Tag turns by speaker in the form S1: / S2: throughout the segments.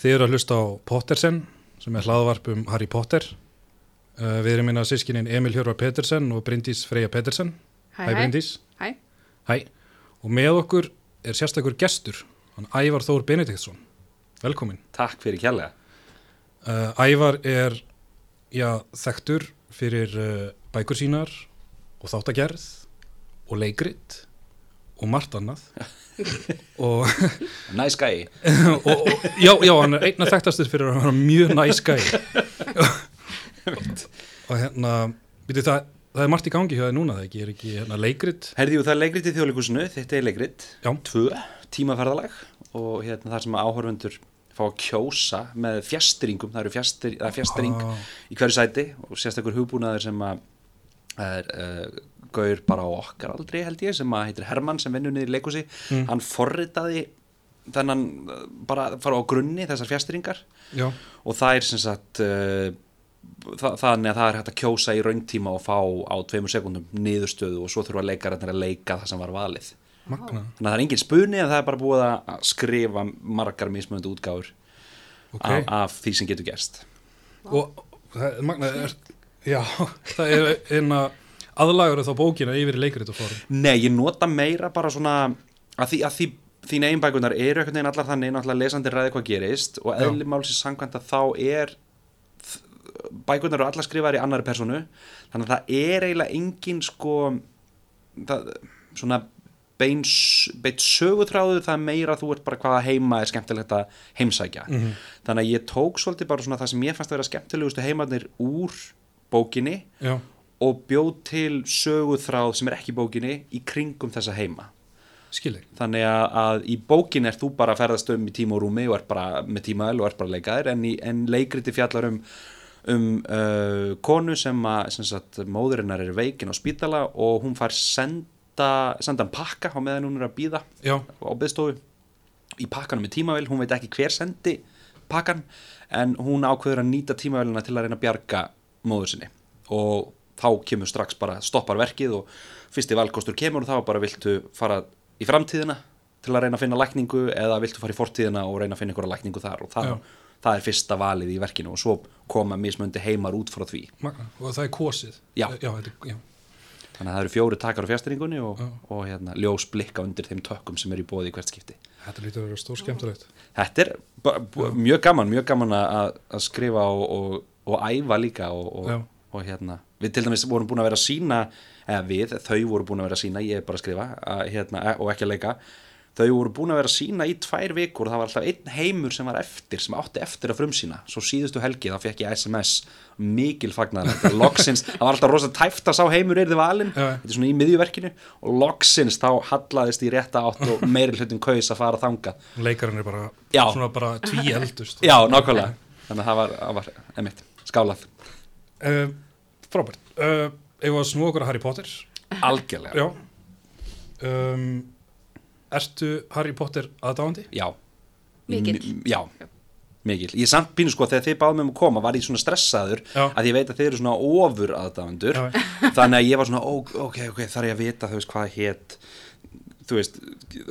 S1: Þið eru að hlusta á Pottersen sem er hlaðvarp um Harry Potter uh, Við erum minna sískinin Emil Hjörvar Pettersen og Bryndís Freyja Pettersen
S2: Hæ,
S1: Hæ Bryndís
S2: Hæ.
S1: Hæ Og með okkur er sérstakur gestur hann Ævar Þór Benediktsson Velkomin
S3: Takk fyrir kjærlega.
S1: uh, Ævar er já, þekktur fyrir uh, bækur sínar og þáttagerð og leikrit og margt annað og
S3: Nice guy.
S1: og, og, já, já, hann er einna þekktastur fyrir að vera mjög næskæ og hérna veitir, það, það er margt í gangi hjá það núna það ekki, er ekki hérna, leikrit
S3: Herðjú, það er leikrit í þjóðleikusinu, þetta er leikrit.
S1: Já.
S3: Tvö, tímaferðalag og hérna þar sem áhörfundur fá að kjósa með fjastringum, það eru fjastir, það er fjastring
S1: Ah.
S3: í hverju sæti og sérstakur hugbúnaður sem að það er uh, gaur bara á okkar aldrei held ég sem að heitir Hermann sem vinnur niður í leikusi hann forritaði þennan eh, bara fara á grunni þessar fjastringar
S1: já,
S3: og það er sem sagt uh, þa þannig að það er hægt að kjósa í rauntíma og fá á tveimur sekundum niðurstöðu og svo þurfa leikararnir að leika það sem var valið
S1: magna,
S3: þannig að það er engin spuni en það er bara búið að skrifa margar mismöndu útgáfur
S1: ok
S3: af, af því sem getur gerst
S1: og það er magna er, já, það er einna aðlagur þá bókina yfir í leikrit og fórum
S3: Nei, ég nota meira bara svona að því, að því þín eigin bækunar eru einhvern veginn allar þannig náttúrulega lesandi ræði hvað gerist og
S1: Já.
S3: eðli málsins samkvæmt að þá er bækunar eru allar skrifaðar í annari personu þannig að það er eiginlega engin sko það, svona beins, beint sögutráðu það er meira að þú ert bara hvaða heima er skemmtilegt að heimsækja þannig að ég tók svolítið bara svona það sem ég fannst að vera skemmtilegustu heimarnir úr bókinni
S1: já,
S3: og bjóð til söguþráð sem er ekki í bókinni í kringum þessa heima.
S1: skilji
S3: Þannig að, að í bókinni er þú bara að ferðast um í tíma og rúmi og er bara með tímaðal og er bara leikaðir en, í, en leikriti fjallar um, um uh, konu sem að sem sagt, móðurinnar er veikin á spítala og hún fær senda, sendan pakka á meðan hún er að býða
S1: já,
S3: á byggstofu í pakkanum með tímavél, hún veit ekki hver sendi pakkan en hún ákveður að nýta tímavélina til að reyna að bjarga móður sinni og þá kemur strax bara stoppar verkið og fyrsti valkostur kemur og þá bara viltu fara í framtíðina til að reyna að finna lækningu eða viltu fara í fortíðina og reyna að finna einhverja lækningu þar og það,
S1: Já.
S3: það er fyrsta valið í verkinu og svo koma mismöndi heimar út frá því
S1: magna, og það er kosið
S3: Já.
S1: já, þetta, er- já.
S3: þannig að það eru fjóri takar á fjastringunni og,
S1: Já.
S3: og hérna, ljós blikka undir þeim tökum sem er í bóði í hvert skipti
S1: þetta lítur að vera stór skemmtilegt
S3: Þetta er ba- b- mjög gaman, mjög gaman að- að að skrifa og, og, og æfa líka og,
S1: Já.
S3: og, og hérna, við til dæmis vorum búin að vera að sína, eða við, þau voru búin að vera að sína, ég er bara að skrifa að, hérna, e- og ekki að leika, þau voru búin að vera að sína í tvær vikur og það var alltaf einn heimur sem var eftir, sem átti eftir að frumsýna, svo síðustu helgi þá fekk ég SMS, mikil fagnar, loksins, það var alltaf rosa tæft að sá heimur er þið valinn,
S1: Já.
S3: þetta er svona í miðjuverkinu og loksins þá hallaðist í rétta átt og meiri hlutin kaus að fara þangað
S1: leikarinn er bara,
S3: Já.
S1: svona bara sko. tví eldust
S3: Já, nákvæmlega Þannig að það var, það var emitt, skálað
S1: Uh, frábært uh, Ef að snú okkur að Harry Potter
S3: Algjörlega
S1: Já um, Ertu Harry Potter aðdáandi?
S3: Já
S2: Mikill.
S3: M- Já, mikil Ég samt pínu sko þegar þið báðum um að koma var ég svona stressaður
S1: Já.
S3: að ég veit að þið eru svona ofur aðdáendur
S1: Já.
S3: Þannig að ég var svona, ó, ok, ok, þarf ég að vita, þú veist, hvað hétt þú veist,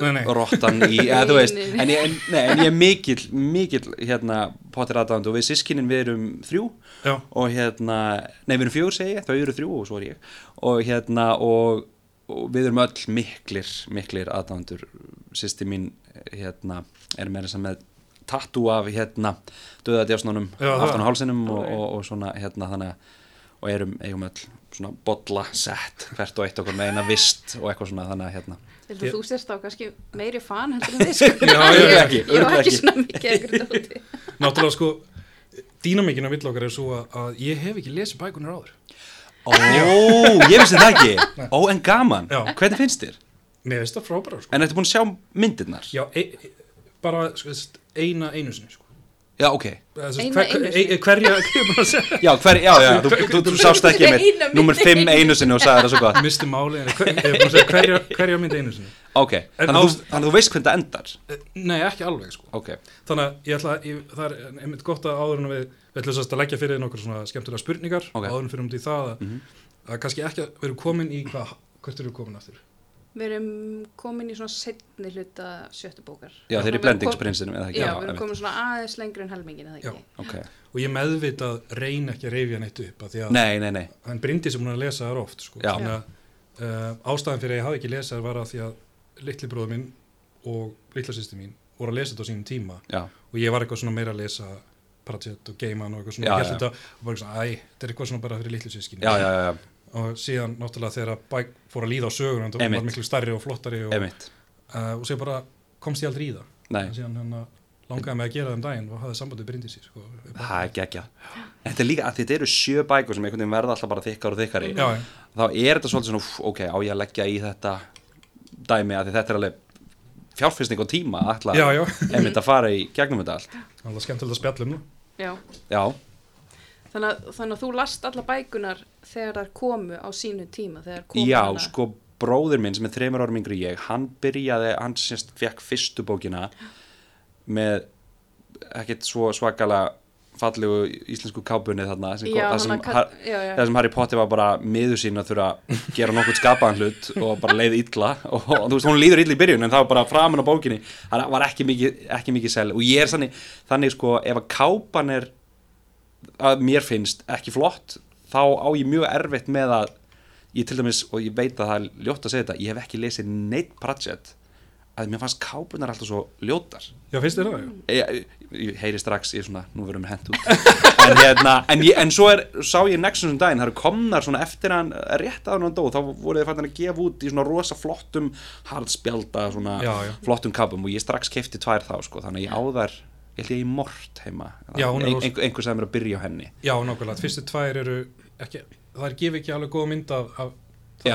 S1: Nei, nei.
S3: rottan í eða, þú
S2: Nei,
S3: veist,
S2: nei, nei.
S3: en ég, en, nei, en ég er mikill, mikill hérna, Potter aðdáendur og við sískinin við erum þrjú
S1: Já.
S3: og hérna, nei við erum fjögur segi ég, þau eru þrjú og svo er ég og hérna og, og við erum öll miklir, miklir aðdándur sýsti mín hérna er meira sem með tattu af hérna döðadjásnunum
S1: Já, það.
S3: aftan á hálsinum og, og, og svona hérna þannig að og erum, eigum öll svona bolla sett hvert og eitt okkur með eina vist og eitthvað svona þannig að hérna
S2: Heldur
S1: Ég-
S2: þú sérst á kannski meiri fan heldur en þið sko.
S1: Já, ég-
S2: Ég-
S3: ekki,
S2: Ég var
S3: örugglega
S2: ekki
S3: ekki.
S2: svona mikið ekkert úti.
S1: Náttúrulega sko Dýnamíkin á vill okkar er svo að, að ég hef ekki lesið bækunar áður
S3: Ó, ég vissi það ekki Ó, en gaman,
S1: Já.
S3: hvernig finnst þér?
S1: Mér veist það frábæra sko
S3: En ertu búin að sjá myndirnar?
S1: Já, e, e, bara sko, þess- eina einu sinni sko
S3: Já, ok
S1: Eða, þess-
S2: Eina
S1: hver-
S2: einu
S1: e-
S2: sinni?
S1: e- Hverja, hverja bara að segja
S3: Já, hver, já, já, þú, þú, þú sást ekki
S2: Eina
S3: mér
S2: mynd
S3: Númer 5 einu sinni og sagði það svo gott
S1: Misti máli, en hver, ég er búin að segja hverja, hverja mynd einu sinni
S3: Ok, þannig að þú, þannig að þú veist hvernig það endar
S1: E, Nei, ekki alveg sko
S3: Ok,
S1: Þannig að ég ætla að, ég, það er einmitt gott að áður en við, við ætlum sérst að leggja fyrir nokkur svona skemmtilega spurningar,
S3: Ok. Mhm.
S1: áður en fyrir um því það að, að kannski ekki að við erum komin í hvað, hvert eru við komin aftur?
S2: Við erum komin í svona setni hluta sjöttu bókar.
S3: Já, þeir eru
S2: Við erum
S3: blendingsprinsinum eða
S2: kom-
S3: ekki
S2: Já,
S3: Já,
S2: við erum
S3: einmitt.
S2: komin svona aðeins lengur en helmingin, eða ekki?
S3: Ok,
S1: og ég meðvitað reyna ekki að reyfja neitt upp að því að
S3: nei, nei, nei
S1: hann brindi sem hún er að lesa þar oft sko.
S3: Já.
S1: Þannig að, uh, ástæðan fyrir að ég hafi ekki lesað var að því að litli bróður minn og litla sýsti mín voru að lesa þetta á sínum tíma
S3: Já,
S1: og ég var eitthvað svona meira að lesa Pratchett og Gaiman og eitthvað svona
S3: Já,
S1: og,
S3: já.
S1: þetta, og bara svona, æ, þetta er eitthvað svona bara fyrir litlu sískinni
S3: já, já, já, já.
S1: og síðan náttúrulega þegar bæk fór að líða á sögur hann
S3: Einmitt.
S1: var miklu stærri og flottari og, uh,
S3: emitt
S1: og sér bara komst ég aldrei í það
S3: Nei,
S1: En síðan hann langaði mig að gera það um daginn og hafði sambandi brindi sér sko, upp á-
S3: það er geggja En þetta er líka að þetta eru sjö bækur sem einhvern veginn verða alltaf bara þykkar og þykkari
S1: já, já.
S3: Þá er þetta svolítið svona, úff, ok, á ég að leggja í þetta dæmi að þetta er alveg fjárfyrsting og tíma að ætla
S1: já, já,
S3: emitt að fara í gegnum þetta allt
S1: alltaf skemmtilegt að spjalla um það
S2: Já,
S3: Já,
S2: þannig að, þannig að þú last alla bækunar þegar þær komu á sínu tíma, þegar komu
S3: já,
S2: hana.
S3: sko bróðir minn sem er þreymur árum yngri en ég, hann byrjaði, hann sérst fekk fyrstu bókina með ekkert svo svakalega fallegu íslensku kápunni þarna sem,
S2: Já,
S3: það
S2: hann
S3: sem,
S2: að kall-
S3: har,
S2: já, já.
S3: það sem Harry Potter var bara miður sín að þurfa að gera nokkuð skapaðan hlut og bara leið illa og, og þú veist, hún líður illa í byrjun en það var bara framan á bókinni hann var ekki mikið, ekki mikið sel og ég er þannig, þannig sko, ef að kápan er að mér finnst ekki flott þá á ég mjög erfitt með að ég til dæmis, og ég veit að það er ljótt að segja þetta ég hef ekki lesið neitt Pratchett að mér fannst kápunar alltaf svo ljótar
S1: já, finnst þér það, já
S3: ég, ég, ég heyri strax, ég er svona, nú verðum við hent út en hérna, en, ég, en svo er sá ég Nexus um daginn, það eru komnar svona eftir að hann, rétt að hann dó, þá voru þið fannir að gefa út í svona rosa flottum hardspjálta, svona
S1: Já, já.
S3: flottum kapum og ég strax kefti tvær þá, sko, þannig að ég áðar ég held ég í mort heima
S1: Já, hún er
S3: ein,
S1: rosa-
S3: ein, einhver sem er að byrja á henni
S1: Já, nákvæmlega, fyrstu tvær eru ekki, það er gefið ekki alveg góð mynd af, af
S3: Já.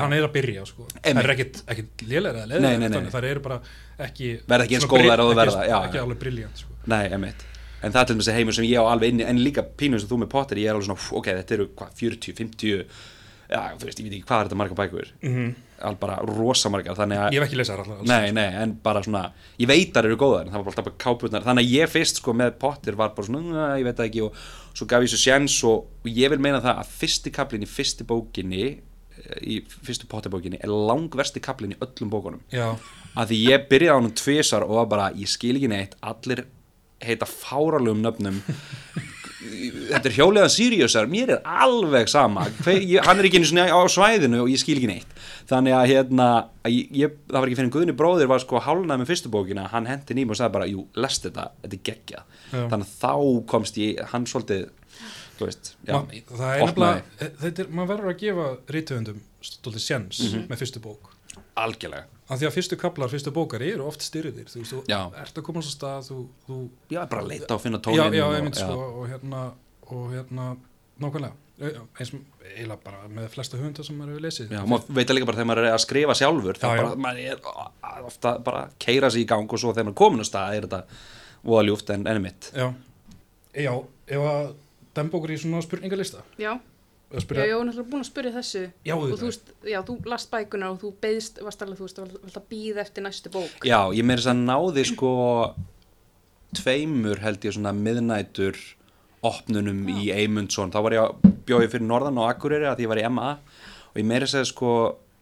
S1: það hann er að byrja, sko það
S3: Einmitt.
S1: er ekkit, ekkit lélega eða
S3: Nei, nei, nei,
S1: leðlega
S3: nei.
S1: þannig það eru bara ekki
S3: Verða ekki eins
S1: svona brill-
S3: góðar og þú
S1: ekki-
S3: verða, já,
S1: ekki
S3: já.
S1: alveg briljant, sko
S3: Nei, emitt En það er til dæmis að heimur sem ég á alveg inni En líka pínum sem þú með Potter Ég er alveg svona, "Pff, ok, þetta eru hvað, 40, 50 Já, þú veist, ég veit ekki hvað er þetta margar bækur -hmm. Alveg bara rosa margar Þannig
S1: Mhm.
S3: að,
S1: ég hef ekki sko. lesað þær allar alls.
S3: nei, nei, en bara svona Ég veit þar eru góðar, en það var bara alltaf bara kápurnar Þannig að ég fyrst, sko, með Potter var bara svona "Næ, Ég veit það ekki, og svo gaf ég svo sjens og, og ég vil meina það að fyrsti kaplin í fyrsti bókinni eh, Í fyrstu Potter bókinni Er langversti kaplin í öllum bókunum
S1: já,
S3: að því ég byrjaði á hann tvisar og var bara, ég skil ekki neitt, allir heita fáralugum nöfnum þetta er hjóliðan Siriusar mér er alveg sama Hver, ég, hann er ekki einu svona á svæðinu og ég skil ekki neitt þannig að hérna að ég, ég, það var ekki fyrir en Guðni bróðir var sko hálnað með fyrstu bókina, hann hendi ným og sagði bara jú, lest þetta, þetta er geggja
S1: Já.
S3: þannig að þá komst ég, hann svolítið þú veist, já,
S1: Ma, það er nefnilega eh, þetta er, maður verður að gefa rítöfundum stoltið sjens
S3: Mhm.
S1: með fyrstu bók
S3: algjörlega
S1: af því að fyrstu kaplar, fyrstu bókar eru oft styrðir, þú veist, þú
S3: Já.
S1: ert að koma á svo stað þú, þú,
S3: já, bara að leita og finna
S1: já,
S3: tónin
S1: já,
S3: og,
S1: einmitt, sko, og hérna og hérna, nákvæmlega Ö, já, eins og eiginlega bara með flesta höfunda sem maður hefur lesið
S3: Já, maður veit líka bara þegar maður er að skrifa sjálfur þá
S1: Já, já.
S3: bara, maður er ó, ofta bara að keira sig í gang og svo þegar maður er komin á stað er þetta voða ljúft en enni mitt
S1: Já, Eh, já ef að demba okkur í svona spurningalista
S2: Já,
S1: að
S2: já,
S1: spyrja,
S2: ég var náttúrulega búin að spyrja þessu
S1: Já,
S2: og
S1: auðvitað.
S2: þú veist, já, þú last bækunar og þú beðst, varst alveg, þú veist, varst að býða eftir næstu bók.
S3: Já, ég meiri þess að náði sko tveimur held ég svona miðnætur opnunum í Eymundsson þá var ég að bjóði fyrir Norðan og Akureyri að því ég var í MA og ég meiri þess að sko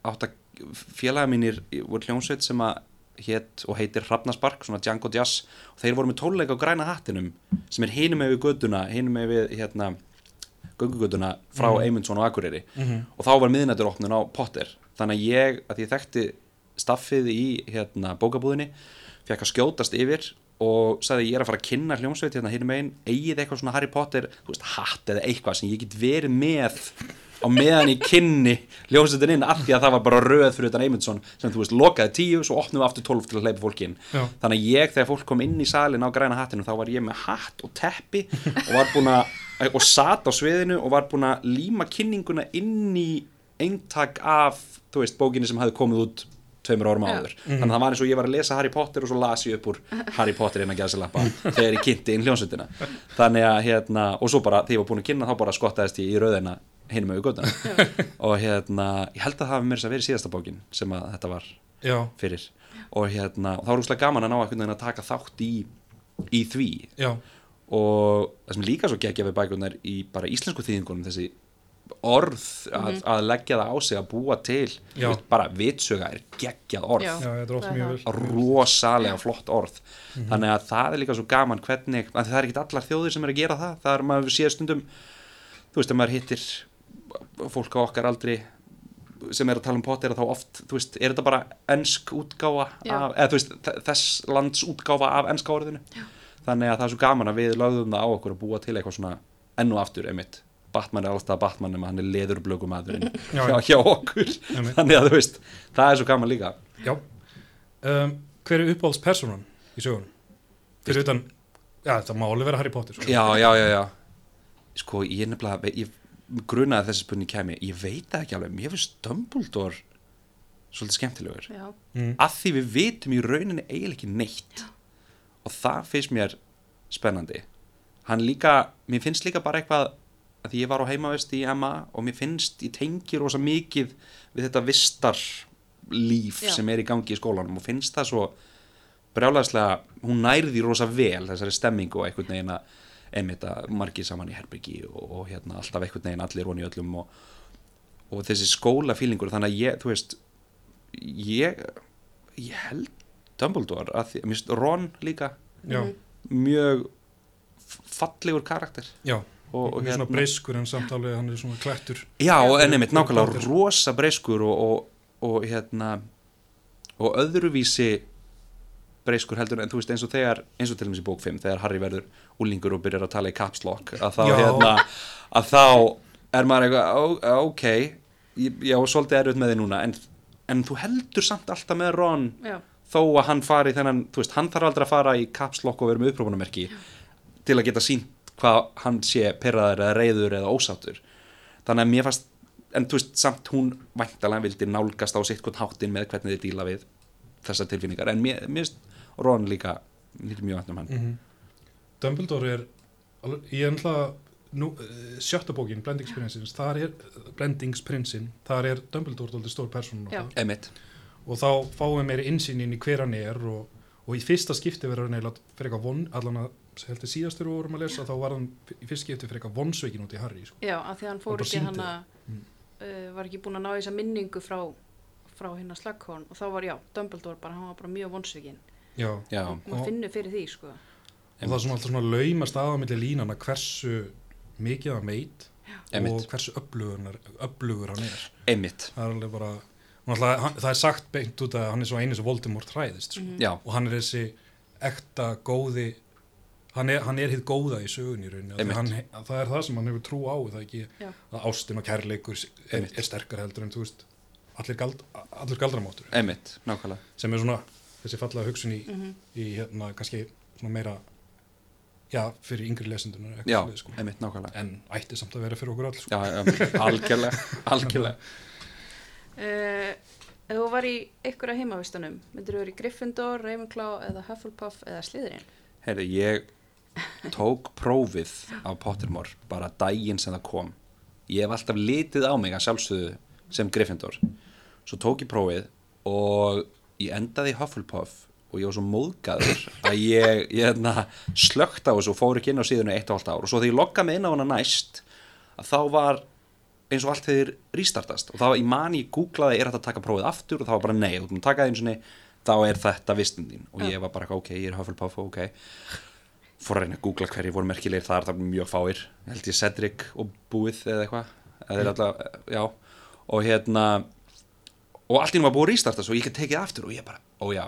S3: átt að félaga mínir voru hljómsveit sem að hétt og heitir Hrafnaspark, svona Django Jazz og þeir voru með tónleika á græna hattinum sem er hinum með við göduna, hinum með við hérna göngugötuna frá Eymundsson og Akureyri og þá var miðnættur opnun á Potter þannig að ég, að ég þekkti staffið í hérna, bókabúðinni fekk að skjótast yfir og sagði ég er að fara að kynna hljómsveit hérna hinn megin, eigið eitthvað svona Harry Potter þú veist, hatt eða eitthvað sem ég get verið með á meðan ég kynni hljómsveitin inn af því að það var bara röð fyrir utan Eymundsson sem þú veist lokaði tíu svo opnum við aftur tólf til að hleypa fólki inn
S1: Já.
S3: þannig að ég þegar fólk kom inn í salin á græna hattinu þá var ég með hatt og teppi og var búin að og sat á sviðinu og var búin að líma kynninguna inn í eintak af, þú veist, bókinni sem hafði komið út tveimur árum
S2: Já.
S3: áður þannig að það var eins og ég var að lesa Harry Potter og svo las ég upp úr Harry Potter innan gæðsilappa þegar ég kynnti inn hljónsveitina þannig að hérna, og svo bara þegar ég var búin að kynna þá bara skottaðist ég í rauðina hinum auðgötan og hérna, ég held að það hafi mér þess að verið síðasta bókin sem að þetta var
S1: já,
S3: fyrir og hérna, og þá er úrslega gaman að ná einhvern veginn að taka þátt í, í því
S1: já,
S3: og það sem líka svo geggja við bækunar í bara íslensku þýðingunum þessi orð að, að leggja það á sig að búa til
S1: Já.
S3: Þú veist, bara vitsuga er geggjað orð
S2: Já.
S1: Já, þetta er oft
S2: það er
S1: mjög
S2: það.
S1: vel.
S3: rosalega flott orð
S1: Mhm.
S3: þannig að það er líka svo gaman hvernig að það er ekkit allar þjóðir sem er að gera það það er maður séð stundum þú veist að maður hittir fólk á okkar aldri sem er að tala um pott er þá oft, þú veist, er þetta bara ennsk útgáfa
S2: Já.
S3: af, eða þú veist, þ- þess lands útgáfa af ennska orðinu Já. þannig að það er svo gaman að við lögðum það á okkur að búa til eitthvað svona enn og aftur einmitt Batman er alltaf Batman nema hann er leðurblöku maðurinn
S1: Já,
S3: hjá,
S1: já.
S3: hjá okkur
S1: Einmitt.
S3: þannig að þú veist, það er svo gaman líka
S1: Já. Um, hver er uppáhalds personan í sögunum? Fyrir utan, já, það má alveg vera Harry Potter. sko.
S3: já, já, já, já sko, ég nefnilega ve- ég grunaði að þessi spurning kemi ég veit það ekki alveg, mér finnst Dumbledore svolítið skemmtilegur
S2: já,
S1: Mm.
S3: að því við vitum í rauninni eiginlega ekki neitt og það finnst mér spennandi hann líka, mér finnst líka bara eitthvað að því ég var á heimavist í MA og mér finnst, ég tengi rosa mikið við þetta vistar líf
S2: Já.
S3: sem er í gangi í skólanum og finnst það svo brjálæðslega, hún nærði rosa vel þessari stemmingu og einhvern veginn að einmitt að margir saman í herbyggi og, og hérna alltaf einhvern veginn allir von í öllum og, og þessi skólafílingur þannig að ég, þú veist ég, ég held Dumbledore, að því, mér finnst Ron líka
S1: Já,
S2: Mhm.
S3: mjög f- fallegur karakter
S1: já.
S3: og, hérna-
S1: Mjög
S3: og
S1: svona breyskur en samt alveg, hann er svona klættur.
S3: Já, og en einmitt nákvæmlega
S1: Potter.
S3: rosa breyskur og, og, og hérna og öðruvísi breyskur heldur en þú veist eins og þegar eins og til dæmis í bók 5 þegar Harry verður úlingur og byrjar að tala í caps lock að þá,
S1: Já.
S3: hérna, að þá er maður eitthvað ó- ó- ok, ég, já, svolítið erfitt með þið núna en, en þú heldur samt alltaf með Ron
S2: já,
S3: þó að hann fari í þennan, þú veist, hann þarf aldrei að fara í kapslokk og vera með upprófunamerki til að geta sínt hvað hann sé perraður eða reyður eða ósáttur þannig að mér fannst, en þú veist, samt hún væntalega vildi nálgast á sitt hvern háttin með hvernig þið díla við þessar tilfinningar, en mér, mér finnst Ron líka, mér er mjög vænt um hann
S1: Mhm. Dumbledore er, alveg- ég er náttúrulega nú, eh, sjötta bókin, Blendingsprinsins, þar er, Blendingsprinsin, þar er Dumbledore dóldi stór personan
S2: Já.
S3: Emmett,
S1: og þá fáum við meiri innsýn inn í hver hann er og, og í fyrsta skipti verður hann eiginlega fyrir eitthvað von, allan að heldur síðast þegar við vorum að lesa, þá var hann í fyrsta skipti fyrir eitthvað vonsveikin út í Harry, sko.
S2: já, að því að hann
S1: Hann
S2: fór
S1: bara
S2: ekki
S1: sýndi Mm.
S2: hann að uh, var ekki búin að ná í þessa minningu frá frá hérna slagkón og þá var já, Dumbledore bara, hann var bara mjög vonsvikinn
S1: Já,
S3: já,
S1: Og-
S2: maður finnur fyrir því sko
S1: og það er svona alltaf svona laumast aðamilli línana hversu mikið hann veit og
S3: Einmitt.
S1: hversu öflugur hann, er, öflugur hann er.
S3: Emmett
S1: Það er alveg bara, og náttúrulega, hann, það er sagt beint út að hann er svo eini sem Voldemort hræðist, sko.
S3: já,
S1: og hann er þessi ekta góði hann er, hann er hitt góða í sögun í rauninni af því
S3: Einmitt.
S1: hann, að það er það sem hann hefur trú á er það ekki
S2: Já.
S1: að ástin og kærleikur er,
S3: Einmitt.
S1: er sterkar heldur en þú veist allir, gald, allir galdramáttur
S3: Emmett, nákvæmlega
S1: sem er svona þessi fallega hugsun í,
S2: Mhm.
S1: í hérna kannski svona meira já, fyrir yngri lesendunar
S3: já,
S1: sko.
S3: Emmett, nákvæmlega
S1: en ætti samt að vera fyrir okkur all sko.
S3: já, já, algjörlega, algjörlega
S2: uh, ef þú var í einhverja heimavistanum myndir þú verið í Gryffindor, Ravenclaw eða Hufflepuff eða Slytherin
S3: Herri, ég tók prófið á Pottermore bara daginn sem það kom. Ég hef alltaf litið á mig að sjálfsögðu sem Gryffindor. Svo tók ég prófið og ég endaði í Hufflepuff og ég var svo móðgæður að ég, ég hérna, slögt á þessu og fór ekki inn á síðunni eitt og halvt ár. Og svo þegar ég loggaði mig inn á hana næst að þá var eins og allt hefur rístartast og þá í mani ég googlaði er þetta að taka prófið aftur og þá var bara nei, þú mútt taka það eins og nei þá er þetta vistin þín og ég var bara ok, ég er Hufflepuff, ok fór að reyna að googla hverjir voru merkilegir þar, það voru mjög fáir ég held ég Cedric og Búið eða eitthvað eða
S1: Mm.
S3: þeir alltaf, já og hérna og allt í einu var búið að rístartast og ég gæti tekið aftur og ég bara, ó já,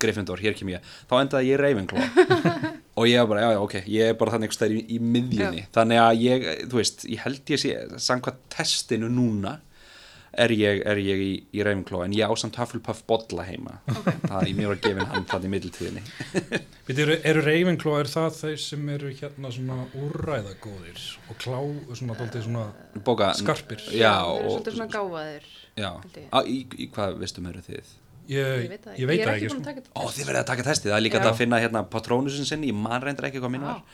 S3: Gryffindor, hér kem ég þá endaði ég í Ravenclaw og ég var bara, já, já, ok, ég er bara þannig einhvers stær í, í miðjunni, þannig að ég þú veist, ég held ég sé, samkvæmt testinu núna er ég, er ég í, í Ravenclaw, en ég á samt Hufflepuff bolla heima, það er mér að gefin hann þannig í middiltíðinni,
S1: Við eru, eru Ravenclaw, er það þeir sem eru hérna svona úrræðagóðir og klá, svona daldið svona
S3: bóka
S1: Skarpir.
S3: já,
S2: þeir eru
S3: og,
S2: svolítið svona gáfaðir
S3: já,
S2: held ég.
S3: á, í, í hvað veistum eru þið?
S1: ég,
S2: veit það
S1: ég veit
S2: ég er
S1: það
S2: ekki
S1: ekki
S2: búin að
S1: sko.
S2: taka
S3: Ó, þið verðið að taka testið, það er líka
S2: Já.
S3: hægt að finna hérna patrónusin sinni, ég man reyndar ekki hvað mín var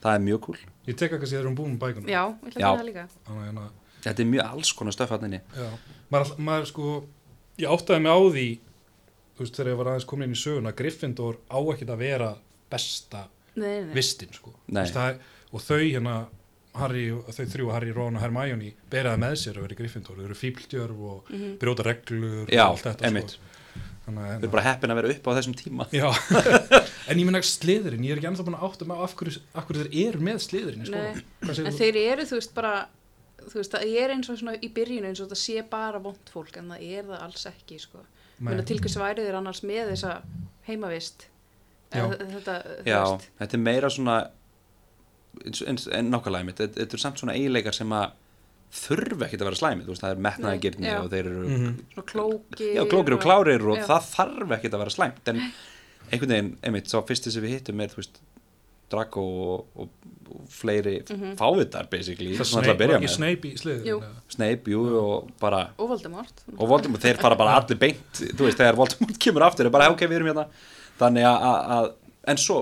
S3: það er mjög cool,
S1: ég tek að kannski þegar hún búin um bækunum
S2: já, ég ætla
S3: Já.
S2: að finna það líka
S1: Þannig að, hérna,
S3: þetta er mjög alls konar stöf hann inni,
S1: já, maður, all- maður sko, ég áttaði mig á því, þú veist, þegar ég var aðeins komin inn í söguna, Gryffindor á ekkert að vera besta
S2: nei, nei, nei.
S1: vistin, sko.
S3: Nei.
S1: Þú það, og þau hérna, Harry, þau þrjú, Harry, Ron og Hermione beraði með sér að vera í Gryffindor þau eru fíbldjörf og
S2: Mhm.
S1: brjóta reglur
S3: Já,
S1: og allt þetta sko.
S3: einmitt.
S1: Þannig,
S3: Þau eru bara heppin að vera upp á þessum tíma
S1: Já, en ég minna sliðurinn, ég er ekki ennþá búin að átta mig á af hverju, af hverju þeir eru með sliðurinn sko.
S2: Nei.
S1: Hvað
S2: En
S1: segir þú?
S2: þeir eru, þú veist, bara þú veist, það er eins og svona í byrjunu eins og það sé bara vond fólk en það er það alls ekki, sko.
S1: Nei.
S2: Menna, til hvers værið er annars með þessa heimavist
S1: Já.
S2: Eða þetta, þú
S3: Já,
S2: veist,
S3: þetta er meira svona eins- eins- en nákvæmlega mitt þetta þetta eru samt svona eiginleikar sem að þurfa ekkert að vera slæmi, þú veist, það er metnaðagirni
S2: Nei, já.
S3: og þeir eru
S1: Mhm.
S2: svona klóki
S3: já, klókir og klárir og
S2: Já.
S3: það þarf ekkert að vera slæmt en einhvern veginn, einmitt, sá fyrsti sem við hittum er, þú veist, Drago og, og, og fleiri fávitar basically,
S1: Það
S3: svona alltaf að
S1: Snape-
S3: byrja með
S1: Ég Snape í sliðurinn
S2: Jú.
S1: eða?
S3: Snape, jú, og bara
S2: og Voldemort
S3: og Voldemort, þeir fara bara allir beint þú veist, þegar Voldemort kemur aftur er bara, ok, við erum hérna þannig að- að, að, en svo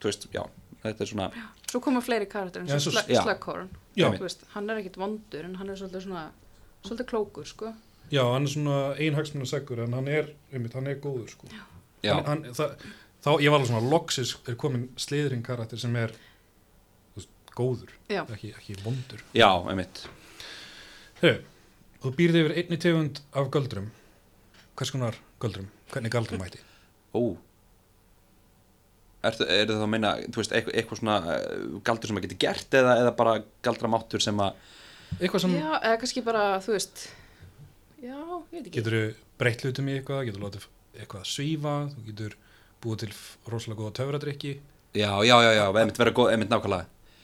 S3: þú veist, já, þetta er svona
S2: svo koma fleiri karakter eins
S1: Já,
S2: og
S1: svo-
S2: Sla-
S3: já.
S2: Slughorn
S1: Já.
S2: Þú veist, hann er ekkit vondur en hann er svolítið svona svolítið klókur sko
S1: Já, hann er svona einhagsminu segur en hann er, einmitt, hann er góður sko.
S3: já,
S1: hann, hann, það, Þá ég var alveg svona loksis er komin sliðurinn karakter sem er þú veist, góður,
S2: já,
S1: ekki, ekki vondur
S3: já, einmitt
S1: Heyrðu, þú býrði yfir einni tegund af göldrum Hvers konar göldrum? Hvernig galdrum mætti?
S3: ó Ertu, er það að minna, þú veist, eitthvað, eitthvað svona eh, galdur sem að geti gert eða, eða bara galdramáttur sem að
S1: Eitthvað sem
S2: já eða kannski bara, þú veist já, ég veit ekki
S1: getur breytt hlutum í eitthvað, getur látið eitthvað að svífa, þú getur búið til f- rosalega góða töfradrykki
S3: já, já, já, já, einmitt vera góð, einmitt nákvæmlega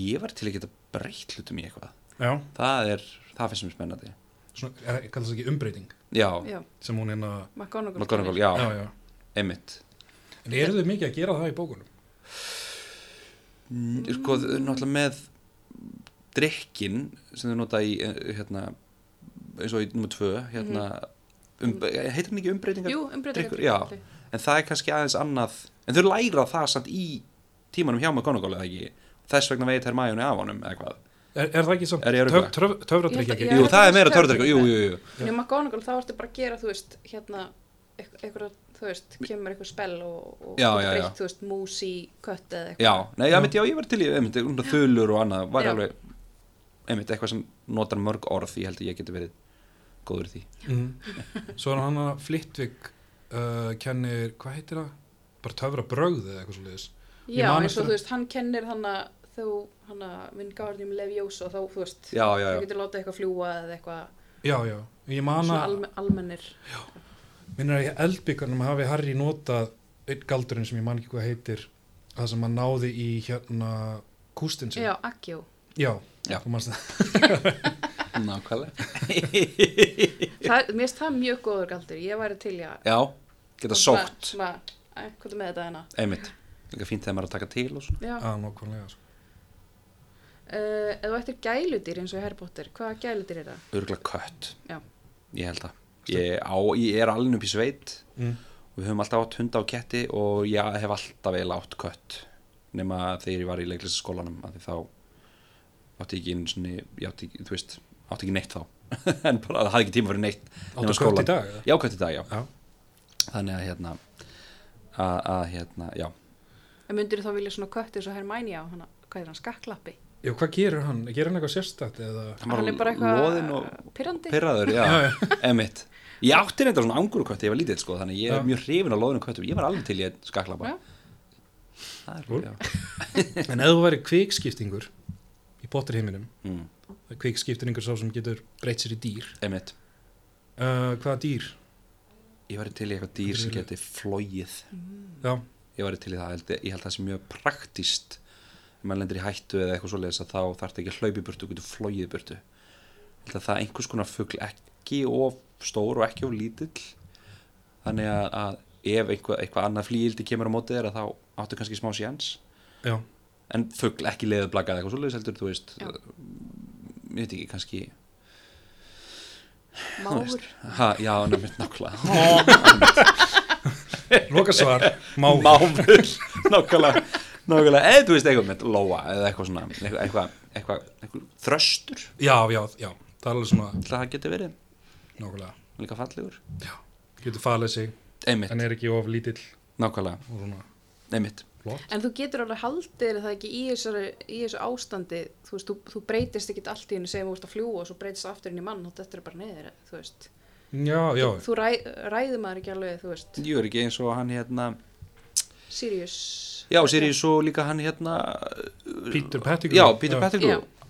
S3: ég var til að geta breytt hlutum í eitthvað
S1: Já,
S3: það er, það finnst mér spennandi
S1: svona, er, kallast það ekki umbreyting
S3: já,
S2: já,
S1: sem hún hérna
S2: McGonagall
S3: McGonagall,
S1: já.
S3: já,
S1: Já,
S3: einmitt
S1: En eru þau mikið að gera það í bókunum?
S3: Mm, sko, þau- náttúrulega með drikkin sem þau nota í eh, hérna, eins og í nummer tvö hérna, um, heitir hann ekki
S2: Mhm.
S3: umbreytingar
S2: jú, um umbreytingar
S3: Drykkur, já. en það er kannski aðeins annað en þau læra það samt í tímanum hjá McGonagall eða ekki þess vegna veit Hermione af honum eða hvað
S1: Er, er það ekki samt
S3: Er ég að
S1: töf,
S3: rugla?
S1: töf, töfradrykki?
S2: Ég held að-
S1: ekki?
S2: Já,
S3: Jú, það er meira
S2: það er
S3: törðrykkur, jú, jú, jú
S2: En í McGonagall þá ertu bara að gera, þú veist, hérna, eitthvað, þú veist, kemur eitthvað spell og, og
S3: Já,
S2: getur
S3: já, já.
S2: breytt, þú veist, mús í kött eða eitthvað.
S3: Já, nei, já, mitt, já, ég var til í einmitt, svona þulur og annað, var
S2: Já.
S3: alveg einmitt, eitthvað sem notar mörg orð, ég held að ég geti verið góður í því
S1: Mhm. Svo er hann að Flittvik uh, kennir, hvað heitir það? Bara töfrabrögð eða eitthvað svo leiðis Ég
S2: Já,
S1: man
S2: eins
S1: eftir-
S2: og þú veist, hann kennir hann að þú, hann að minn Guardium Leviosa, þá, þú veist,
S3: Já, já,
S2: þú
S3: já,
S2: getur látið eitthvað fljúa eða eitthvað,
S1: Já, já, ég man
S2: svona
S1: að
S2: alme, almennir.
S1: minnir að í eldbyggarnum hafi Harry notað einn galdurinn sem ég man ekki hvað heitir það sem hann náði í hérna kústinn sinn
S2: Já, Akjó.
S1: já,
S3: Já.
S1: þú manst það
S3: nákvæmlega
S2: Það, mér finnst það mjög góður galdur, ég væri til í að...
S3: Já, geta
S2: svona-
S3: sótt,
S2: Svona, æ, hvað er með þetta hérna?
S3: einmitt Líka fínt þegar maður er að taka til og svona
S2: Já.
S1: að nokkvæmlega sko.
S2: Uh, ef þú ættir gæludýr eins og í Harry Potter, hvaða gæludýr er það?
S3: Örgulega kött,
S2: Já.
S3: ég held að Ég, á, ég er alveg upp í sveit
S1: mm.
S3: og við höfum alltaf átt hunda og ketti og ég hef alltaf eiginlega átt kött nema þegar ég var í leiklistaskólanum að því þá átti ég ekki einu sinni, ég átti ekki, þú veist átti ekki neitt þá, en bara það hafði ekki tíma fyrir neitt
S1: áttu
S3: skólann.
S1: skótt í dag eða?
S3: já, kött í dag, já,
S1: já,
S3: þannig að hérna að, að hérna, já
S2: En myndir þá vilja svona kött eins og Hermæni á hana, hvað er hann, skakklappi?
S1: já, hvað gerir hann? gerir hann eitthvað sérstætt eða
S2: Hann, er bara
S3: loðinn
S2: eitthvað
S3: og
S2: pyrrandi.
S3: pyrraður, já, emitt ég átti reyndar svona anguru kött, ég var lítill sko þannig að ég
S1: Já.
S3: er mjög hrifin á loðinu köttum, ég var alveg til ég skaklapa
S2: Já.
S3: það er,
S1: Cool.
S3: já,
S1: en ef þú væri kvikskiptingur í Potterheiminum
S3: mm,
S1: kvikskiptingur sá sem getur breytt sér í dýr
S3: emitt
S1: uh, hvaða dýr?
S3: ég var til í eitthvað dýr sem geti flóið
S1: já,
S3: ég væri til í það, held, ég held það sé mjög praktíst ef maður lendir í hættu eða eitthvað svoleiðis að þá þarf ekki að hlaupa í burtu, þú getur flóið í burtu ég held að það er einhvers konar fugl ekki of stór og ekki of lítill þannig að, að ef eitthvað, eitthvað annað flýildi kemur á móti þér að þá áttu kannski smá sjans
S1: já,
S3: en fugl ekki leðublakað eitthvað svoleiðis heldur, þú veist eh,
S2: Já.
S3: ég veit ekki, kannski þú
S2: Máur.
S3: veist. ha, já, nefnir nákvæmlega
S1: loka svar máfur
S3: máfur nákvæmlega, nákvæmlega eða þú veist eitthvað með lóa eða eitthvað svona eitthvað, eitthvað, eitthvað, eitthvað þröstur
S1: já, já, já, það er alveg svona
S3: ætla að það geti verið,
S1: nákvæmlega,
S3: líka fallegur
S1: getur falið sig
S3: einmitt,
S1: en er ekki of lítill
S3: nákvæmlega,
S1: og svona
S3: einmitt
S1: flott
S2: En þú getur alveg haldir það ekki í, þessari, í þessu ástandi, þú veist, þú, þú breytist ekkit allt í hennu sem þú ert að fljúa og svo breytist aftur inn í mann og þetta er bara neður, þú veist.
S1: já, já,
S2: Þú, þú ræ, ræðir maður ekki alveg, þú veist,
S3: Jú er ekki eins og hann hérna
S2: Sirius.
S3: Já, Sirius og líka hann hérna
S1: Peter Pettigrew
S3: Já, Peter Pettigrew
S2: Já,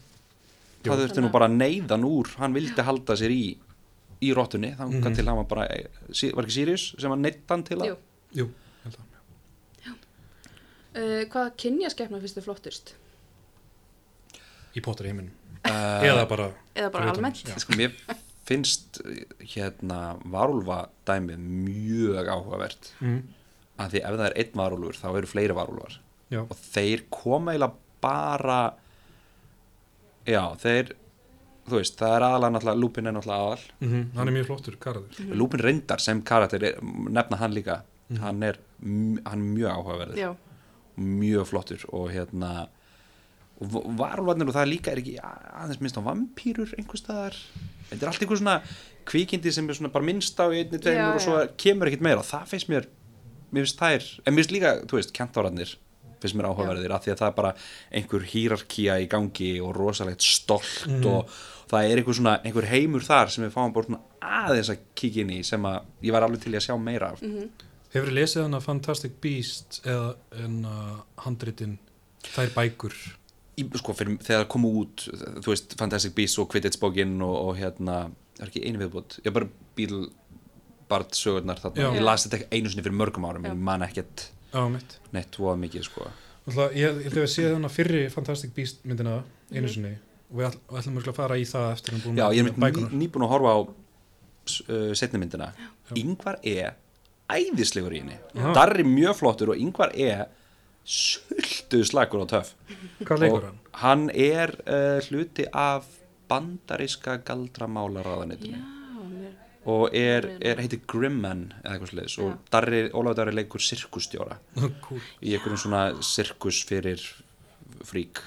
S3: það
S2: Jú.
S3: þurfti nú bara að neyða hann úr hann vildi halda sér í í rottunni, þannig
S1: Mhm.
S3: til hann var bara sí- var ekki Sirius sem hann neytta hann til að
S2: jú.
S1: Jú, ég held að.
S2: Uh, hvaða kynjaskeppna finnst þið flottust?
S1: í Potter heiminum
S3: Eh,
S1: eða bara,
S2: Eða bara
S1: Fyrir utan,
S2: almennt?
S1: já.
S3: sko, mér finnst hérna varulva dæmið mjög áhugavert
S1: mm,
S3: af því ef það er einn varulfur þá eru fleiri varulvar
S1: já,
S3: og þeir koma eiginlega bara já, þeir þú veist, það er aðalega náttúrulega lúpin er náttúrulega aðal
S1: mhm, hann er mjög flottur, karaður
S3: Lúpin reyndar sem karakter er, nefna hann líka hann, er, m- hann er mjög áhugaverður
S2: Já,
S3: mjög flottur og hérna og v- varúlfarnir og það líka er ekki a- aðeins minnst á vampýrur einhvers staðar þetta er allt einhver svona kvikindi sem er svona bara minnst á í einni
S2: Já,
S3: tveimur og svo
S2: já.
S3: kemur ekkit meira það finnst mér, mér finnst þær en mér finnst líka, þú veist, kentárarnir finnst mér áhugaverðir af því að það er bara einhver hýrarkía í gangi og rosalegt stolt og það er einhver svona einhver heimur þar sem við fáum bara svona aðeins að kíkja inn í sem að ég var alveg til í að sjá meira af
S1: Hefur þið lesið hana Fantastic Beasts eða en uh, handritin Þær bækur
S3: í, sko, fyrir, þegar það komu út þú veist, Fantastic Beasts og Quidditch bókin og, og hérna, það er ekki einu viðbútt ég bara bíl bart sögurnar þarna,
S1: Já.
S3: ég las þetta ekki einu sinni fyrir mörgum árum,
S2: Já.
S3: ég man ekkert
S1: á mitt
S3: neitt voða mikið, sko
S1: Alltaf, Ég ég held að við séð hana fyrri Fantastic Beast myndina einu sinni og við, all, og ætlum mörgulega að fara í það eftir en búin
S3: já, ég er
S1: með
S3: mynd
S1: bækunar
S3: ný, nýbúin að horfa á uh, setni myndina, yngvar E æðislegur í henni
S1: Já.
S3: Darri mjög flottur og yngvar E sultu slagur og töff
S1: Hvað leikur hann?
S3: og hann er uh, hluti af bandaríska galdramálaráðanitinu
S2: já, mér,
S3: og er, er heitir Grimman eða eitthvað sliðis og Darri, Ólafur Darri leikur sirkustjóra
S1: Kúl
S3: í einhverjum svona sirkus fyrir frík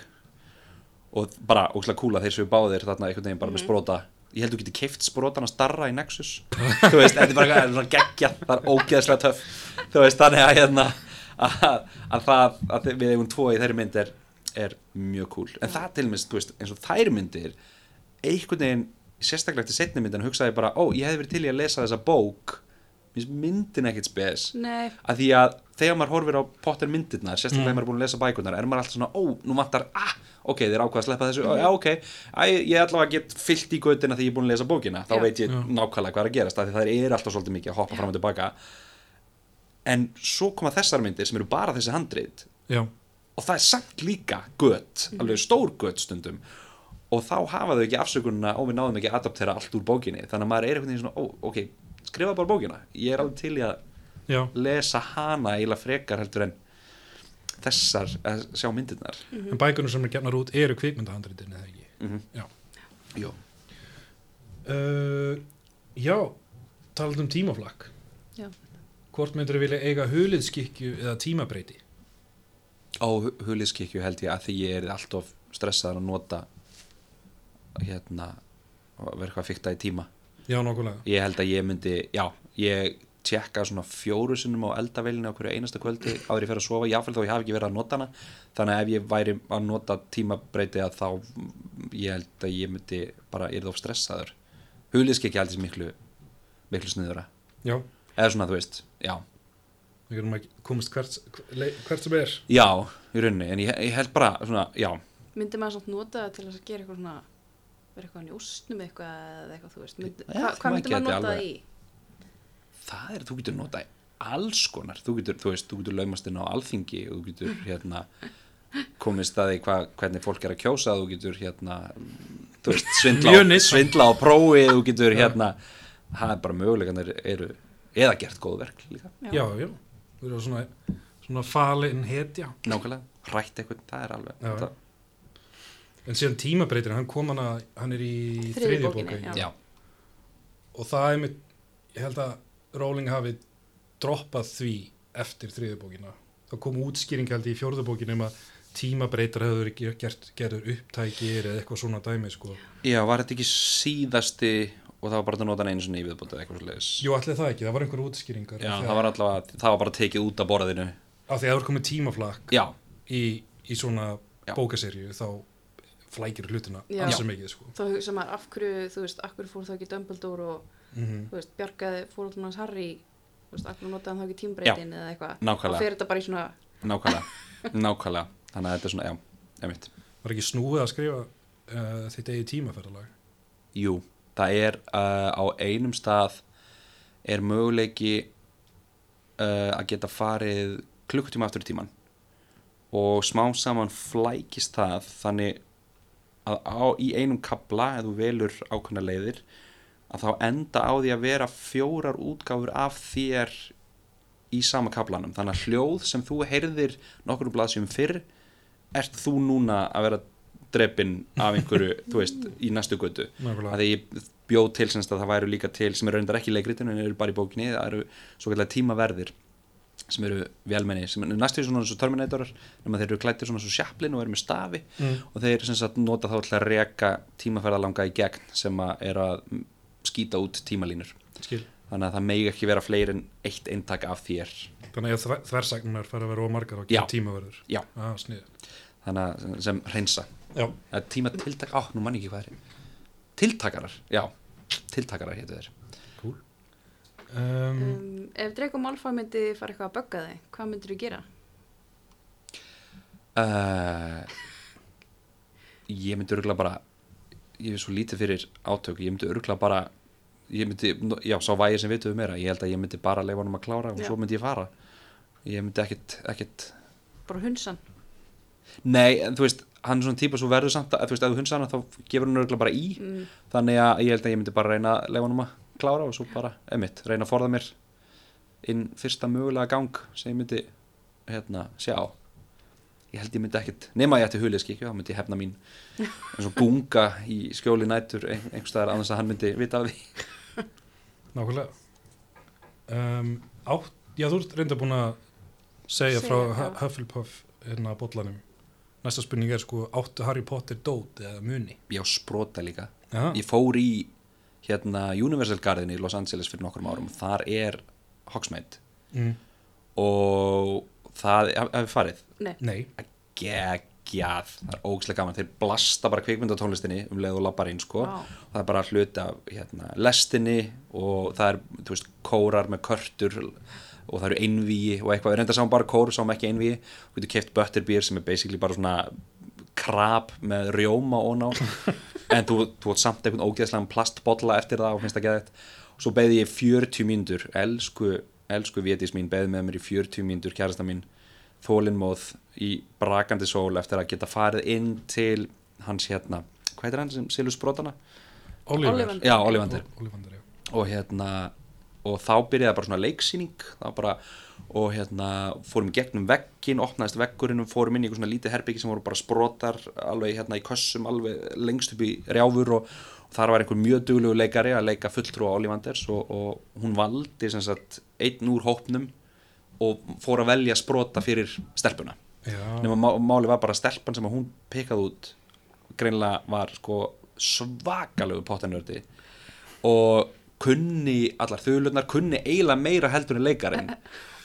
S3: og bara ógæslega kúla þeir sem við báðir þarna einhvern veginn bara með spróta ég held þú getur keift sprótan að starra í Nexus þú veist, þetta er bara eitthvað- þetta er svona geggja það er ógeðslega töff þú veist, þannig að hérna að, að það að þið- við eigum tvo í þeirri mynd er, er mjög kúl en það til minnst, þú veist, eins og þær myndir einhvern veginn, sérstaklega til setni myndin hugsaði ég bara, ó, ég hefði verið til í að lesa þessa bók Mér finnst myndin ekkit spes
S2: nei,
S3: að því að þegar maður horfir á Potter myndirnar, sérstaklega þegar maður er búin að lesa bækurnar er maður alltaf svona, ó, nú vantar, ah, ok þeir ákvað að sleppa þessu, mm já, ok Æ, ég allavega get fyllt í gautina því ég er búin að lesa bókina þá
S2: Já.
S3: veit ég
S1: Já.
S3: nákvæmlega hvað er að gerast af því það er alltaf svolítið mikið að hoppa fram og tilbaka en svo koma þessar myndir sem eru bara þessi handrið
S1: Já,
S3: og það er samt líka gött, alveg stór gött stundum og þá hafa þau ekki afsökununa og við náðum ekki að adaptera allt úr bókinni þannig að maður er einhvern veginn svona, ó, ok skrifa bara bókina, ég er alveg til í að
S1: já,
S3: lesa hana eiginlega frekar heldur en þessar að sjá myndirnar
S1: en bækunar sem er gefnar út eru kvikmyndahandritin eða ekki
S3: Jó.
S1: uh, Já, talað um tímaflakk
S2: Já.
S1: Hvort myndur vilja eiga huliðskikju eða tímabreyti?
S3: á huliskykju held ég að því ég er alltof stressaður að nota hérna að vera eitthvað að fikta í tíma
S1: Já, nokkulega
S3: ég held að ég myndi, já ég tjekka svona fjóru sinnum á eldaveilinu á hverju einasta kvöldi áður ég fer að sofa jáfnvel þó ég hafi ekki verið að nota hana þannig að ef ég væri að nota tímabreyti að þá mm, ég held að ég myndi bara, ég er þá stressaður huliskykja held ég sé miklu miklu sniðura
S1: Já,
S3: eða svona þú veist, já
S1: við getum að komast hvert, hvert sem er
S3: já, í rauninni, en ég, ég held bara svona, já,
S2: myndi maður samt nota það til þess að gera eitthvað svona, vera eitthvað njóstnum eitthvað eða eitthvað, þú veist, myndi,
S3: Já,
S2: hva,
S3: maður
S2: hvað myndi maður
S3: geti
S2: nota það í?
S3: alveg- það er, þú getur notað í alls konar, þú getur, þú veist, þú getur laumast inn á alþingi, og þú getur hérna komist að því hva, hvernig fólk er að kjósa, þú getur hérna þú veist, svindla
S1: Mjög
S3: á,
S1: neyslan.
S3: svindla á prófi, þú getur hérna það er bara möguleikanir eru eða gert góð verk líka,
S1: Já, já, við erum svona, svona falin hetja
S3: nákvæmlega rætt eitthvað, það er alveg
S1: Já.
S3: þetta-
S1: En síðan tímabreytir, hann kom hana, hann er í
S2: Þriðju
S1: þriðju
S2: bókinni,
S1: bókinni.
S2: Já.
S3: já,
S1: Og það er mitt, ég held að Rowling hafi droppað því eftir þriðju bókina. Það kom útskýring held ég, í fjórðu bókinni um að tímabreytar hefur verið ger- gert, gerður upptækir eða eitthvað svona dæmi, sko.
S3: já, var þetta ekki síðasti og það var bara að nota hann einu sinni í viðbútið eitthvað svo
S1: Jú, allir það ekki, það var einhver útskýringar.
S3: Já, það var allavega, það var bara tekið út af borðinu
S1: af því að það er komið tímaflakk
S3: já,
S1: í, í svona
S3: Já.
S1: bókaserju þá flækir hlutina
S2: Já.
S1: ansi mikið sko.
S2: þá hugsa maður af hverju, þú veist, af hverju fór þá ekki Dumbledore og,
S1: mm
S2: þú veist, bjargaði fórhaldun hans Harry, þú veist, af hverju notaði hann þá ekki tímbreytin eða eitthvað,
S3: Nákvæmlega.
S2: þá fer þetta bara í svona,
S3: nákvæmlega nákvæmlega, þannig að þetta er svona, já, emitt
S1: Var ekki snúið að skrifa uh, þitt eigið tímaferðalag?
S3: Jú, það er uh, á einum stað er möguleiki uh, að geta farið klukkutíma aftur í tíman og smá saman flækist það þannig að á, í einum kabla ef þú velur ákveðna leiðir að þá enda á því að vera fjórar útgáfur af þér í sama kablanum þannig að hljóð sem þú heyrðir nokkrum blaðsjum fyrr ert þú núna að vera drepin af einhverju, þú veist, í næstu götu
S1: Nákvæmlega.
S3: að því ég bjóð til semst að það væru líka til sem eru reyndar ekki í leikritinu en eru bara í bókinni það eru svo kallar tímaverðir sem eru velmenni sem eru næstu svona eins og Terminatorar nema þeir eru klættir svona eins og sjaplin og eru með stafi
S1: Mm.
S3: og þeir sem sagt nota þá til að reka tímaferðalanga í gegn sem að er að mm, skýta út tímalínur
S1: Skil.
S3: þannig að það megi ekki vera fleiri en eitt eintak af þér
S1: Þannig að þver- þversagnar fara að vera ómargar og
S3: Já.
S1: gera tímaverður.
S3: Já.
S1: Ah, snið.
S3: þannig að sem- sem reynsa
S1: Já.
S3: að tíma tiltak, á, nú mann ég ekki hvað er tiltakarar, já tiltakarar hétu þeir
S1: Cool. Um,
S2: um, ef Draco Malfoy myndi fara eitthvað að bögga þig, hvað myndir þú gera?
S3: Uh, ég myndi örgulega bara ég er svo lítið fyrir átök ég myndi örgulega bara ég myndi, já, sá vægir sem vituðu meira ég held að ég myndi bara leifa honum að klára og
S2: Já.
S3: svo myndi ég fara ég myndi ekkit, ekkit
S2: Bara hunsan,
S3: nei, en þú veist, hann er svona típa svo verður samt að, þú veist, ef þú hunsa hana þá gefur hann örgulega bara í
S2: Mm,
S3: þannig að ég held að ég myndi bara reyna að leifa honum að klára og svo bara, emitt, reyna að forða mér inn fyrsta mögulega gang sem ég myndi, hérna, sjá ég held ég myndi ekkert nema ég ætti huliðskikju, þá myndi ég hefna mín eins og gunga í skjóli nætur ein- einhvers staðar annars að hann myndi vita af því
S1: Nákvæmlega um, átt, Já, þú ert reynda búin að segja
S2: Segja,
S1: frá
S2: já.
S1: Hu- Hufflepuff hérna bollanum Næsta spurning er sko, áttu Harry Potter dót eða muni?
S3: ég á sprota líka,
S1: Já,
S3: ég fór í hérna Universal Garden í Los Angeles fyrir nokkrum árum, þar er Hogsmeade
S1: mm,
S3: og það, hefur farið
S2: nei,
S1: nei,
S3: geggjað, það er ógislega gaman þeir blasta bara kvikmyndatónlistinni um leið og lappar inn sko,
S2: Vá.
S3: það er bara hluti af hérna, lestinni og það er þú veist, kórar með körtur og það eru einvíi og eitthvað við reynda sáum bara kór, sáum ekki einvíi við getum keft butterbeer sem er basically bara svona krab með rjóma og ná en þú, þú átt samt einhvern ógeðslegan plastbolla eftir það og finnst það geðvægt og svo beði ég 40 mínútur elsku, elsku vétis mín beði með mér í 40 mínútur kærasta mín þólinmóð í brakandi sól eftir að geta farið inn til hans hérna, hvað heitir hann sem silur sprótana?
S1: Oliver
S2: Ollivander.
S3: Já, Ollivander
S1: Olivander, já
S3: og hérna og þá byrjaði bara svona leiksýning það var bara, og hérna fórum í gegnum veggin, opnaðist veggurinn og fórum inn í eitthvað svona lítið herbyggi sem voru bara sprotar alveg hérna í kössum, alveg lengst upp í rjáfur og, og þar var einhver mjög duglegu leikari að leika fulltrú á Ollivanders og, og hún valdi sem sagt einn úr hópnum og fór að velja sprota fyrir stelpuna
S1: Já,
S3: nema má- máli var bara að stelpan sem að hún pekaði út greinlega var sko svakalegu pottanördi og kunni allar þauðlunar, kunni eiginlega meira heldur en leikarinn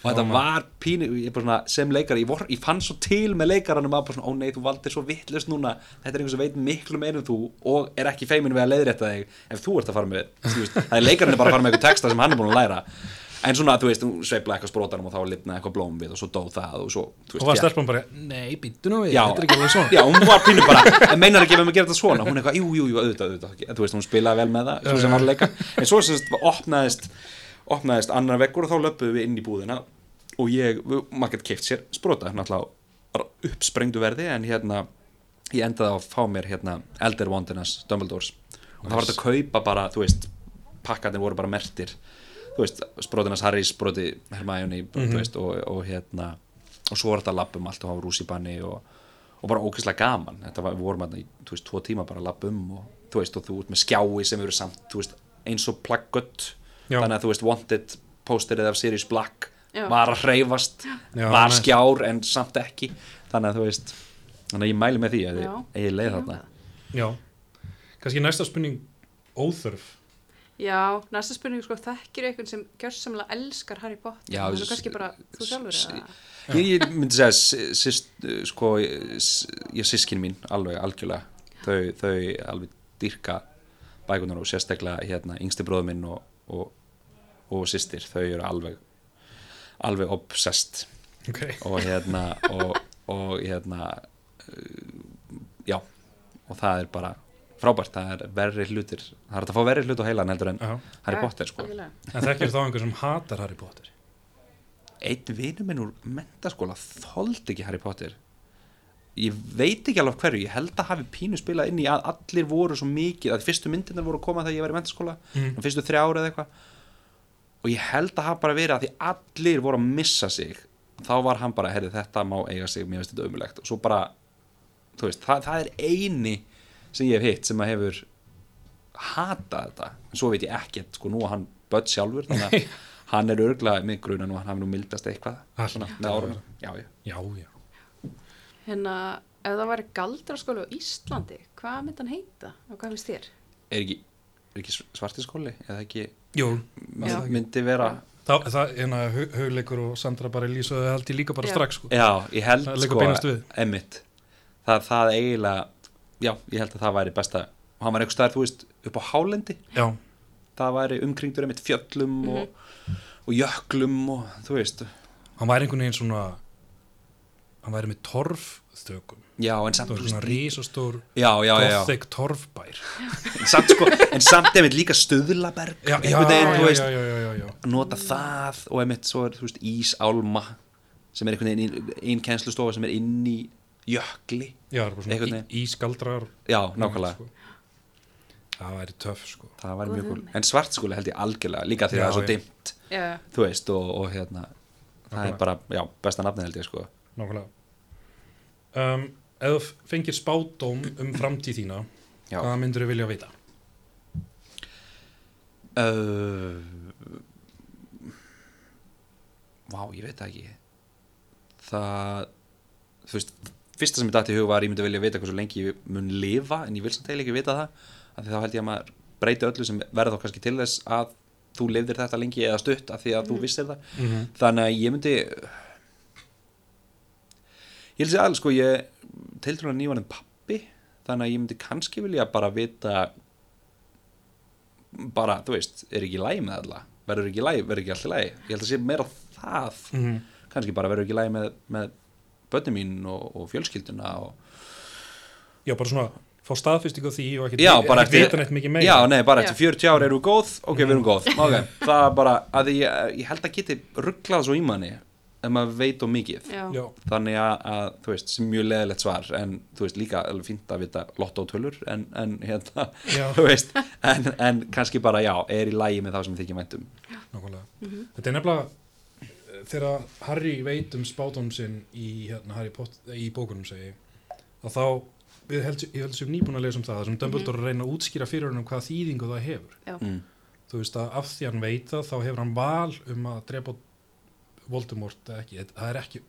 S3: og þetta var pínu, ég er bara svona, sem leikari ég, vor, ég fann svo til með leikaranum að bara svona, ó nei, þú valdir svo vittlust núna þetta er einhver sem veit miklu meira en þú og er ekki feimin við að leiðrétta þig ef þú ert að fara með, þú veist, það er leikarinn er bara að fara með eitthvað texta sem hann er búin að læra en svona, þú veist, hún sveifla eitthvað sprótanum og þá lifnaði eitthvað blóm við og svo dó það og svo, þú
S1: og var
S3: féll-
S1: stelpan bara Nei, býttu nú við,
S3: Já.
S1: þetta er ekki alveg svona
S3: Já, hún var pínu bara, en meinar ekki ef maður gerir þetta svona Hún er eitthvað, jú, jú, jú, auðvitað, auðvitað En Þú veist, hún spilaði vel með það, svo sem var að leika En svo sem sagt, opnaðist, opnaðist annar veggur og þá löpuðum við inn í búðina Og ég, við- maður gett keift sér Sprota, náttúrulega á uppsprengdu verði En hérna, ég endaði á að fá mér hérna, Elder Wandernas, Dumbledores Og það var þetta að kaupa bara, þú veist Pakkarnir voru bara mertir Þú veist, Sprotinas Harry, Sproti Hermione,
S1: Mhm.
S3: þú veist, og, og hérna Og svo var þetta lappum allt og hafa rússipanni og, og bara ógeðslega gaman þetta var, við vorum að, þú veist, tvo tíma bara að lappa um og þú veist, og þú ert með skjái sem eru samt, þú veist, eins og plaggött
S1: Já.
S3: þannig að þú veist, Wanted pósterið af Sirius Black
S2: Já.
S3: var að hreyfast,
S1: Já,
S3: var
S1: nei.
S3: skjár en samt ekki, þannig að þú veist þannig að ég mæli með því að
S2: Já.
S3: ég leið þarna
S1: Já, kannski næsta spurning óþörf
S2: Já, næsta spurning sko, þekkir einhvern sem gjörsamlega elskar Harry Potter
S3: Já,
S2: það
S3: s-
S2: er kannski bara þú sjálfur
S3: s-
S2: eða?
S3: Ég, ég myndi segja s- sýst, uh, sko, ég s- ég sískin mín alveg algjörlega þau, þau alveg dyrka bækunar og sérstaklega hérna yngsti bróður minn og, og, og sýstir, þau eru alveg alveg obsessed
S1: ok,
S3: og hérna og, og hérna uh, já, og það er bara frábært, það er verri hlutir það er hægt að fá verri hlut á heilan heldur en
S1: já
S3: Harry
S2: Já,
S3: Potter sko
S2: algjörlega.
S1: en þekkir þá einhver sem hatar Harry Potter
S3: einn vinur minn úr mentaskóla þoldi ekki Harry Potter ég veit ekki alveg af hverju ég held að hafi pínu spilað inn í að allir voru svo mikið að fyrstu myndirnar voru að koma þegar ég var í mentaskóla
S1: Mhm.
S3: mm. fyrstu þrjá ára eða eitthvað og ég held að hafa bara verið að því allir voru að missa sig þá var hann bara, herri þetta má eiga sig mér veist þetta ömulegt og svo bara, þú veist, það, það er eini sem ég hef hitt sem að hefur hata þetta en svo veit ég ekkert, sko nú að hann börn sjálfur þannig að hann er örglega mig grunar nú að hann hafi nú mildast eitthvað
S1: Það
S3: svona,
S1: hlýtur
S3: með
S1: að
S3: árunum, já, já
S1: já, já,
S2: Hérna, ef það væri galdraskóli á Íslandi hvað myndi hann heita og hvað finnst þér?
S3: er ekki, er ekki svartiskóli eða ekki,
S1: jú
S3: mynd,
S2: Já.
S3: myndi vera
S1: þá, það, en að Hug- hugleikur og Sandra bara lýsaðu það held ég líka bara
S2: Já.
S1: strax sko.
S3: já, ég held
S1: Það liggur
S3: sko
S1: beinast við.
S3: emitt, það, það eiginlega já, ég held að það væri besta og hann var einhvers staðar, þú veist, upp á hálendi
S1: já,
S3: það væri umkringdur emitt fjöllum og, og jöklum og þú veist,
S1: hann væri einhvern veginn svona hann væri með torfstökum
S3: já, en
S1: það
S3: samt
S1: var
S3: þú
S1: svona
S3: veist,
S1: risastór
S3: já, já, já, já.
S1: gothic torfbær
S3: En samt sko, en samt emitt líka stöðlaberg
S1: já, já,
S3: einhvern veginn, þú
S1: já,
S3: veist
S1: já, já, já, já.
S3: að nota það og emitt svo er þú veist ísálma sem er einhvern veginn einn kennslustofa sem er inn í jökli
S1: Já, það er bara
S3: Einhvern
S1: svona í, ískaldrar
S3: já, nákvæmlega,
S1: sko. Það væri töff sko
S3: það var
S2: Góð
S3: mjög gul
S2: hugmynd.
S3: en svartskóli held ég algjörlega, líka því
S1: Já,
S3: að það er svo
S1: já.
S3: dimmt
S2: Já,
S3: þú veist, og, og hérna það
S1: Nákvæmlega.
S3: er bara, já, besta nafni held ég sko
S1: Nákvæmlega um, Ef þú fengir spátóm um framtíð þína
S3: Já.
S1: Hvað myndur þú vilja vita?
S3: uh, Vá, ég veit það ekki Það Þú veist, fyrsta sem ég dætti í hug var að ég myndi vilja vita hversu lengi ég mun lifa en ég vil samt eiginlega ekki vita það af því þá held ég að maður breyti öllu sem verður þá kannski til þess að þú lifðir þetta lengi eða stutt af því að þú vissir það
S1: Mm -hmm.
S3: þannig að ég myndi ég held sér að sko ég tiltrúlega nývarinn pappi þannig að ég myndi kannski vilja bara vita bara, þú veist, er ekki í lægi með alla verður ekki í lægi, verður ekki allt í lægi ég held að sé meira það
S1: Mhm.
S3: kannski bara verður ekki í lægi með, með bönni mín og, og fjölskylduna og,
S1: Já, bara svona Fá staðfyrstingu á því og ekkert
S3: já,
S1: ekkert
S3: bara eftir
S1: vita neitt mikið meira
S3: já, nei, bara eftir
S2: Já.
S3: 40 ár eru góð ok, við erum góð, ok, það er bara að því ég, ég held að geti rugglað svo í manni ef maður veit og mikið
S2: já,
S1: Já,
S3: þannig að, að þú veist, sem mjög leðilegt svar en þú veist líka alveg fínt að vita lottótölur en, en hérna
S1: Já.
S3: þú veist, en, en kannski bara já er í lægi með þá sem um. þykja mæntum
S1: nákvæmlega
S2: Mhm.
S1: Þetta er nefnilega eh, þegar Harry veit um spátóm sinn í, hérna, Harry Potter, í bókunum segi að þá við held, ég held sem nýbúin að lesa um það þar sem
S2: Mhm.
S1: Dumbledore er að reyna að útskýra fyrir honum hvaða þýðingu það hefur
S2: já,
S3: mm.
S1: þú veist að af því hann veit það þá hefur hann val um að drepa Voldemort eða ekki, Þetta- það er ekki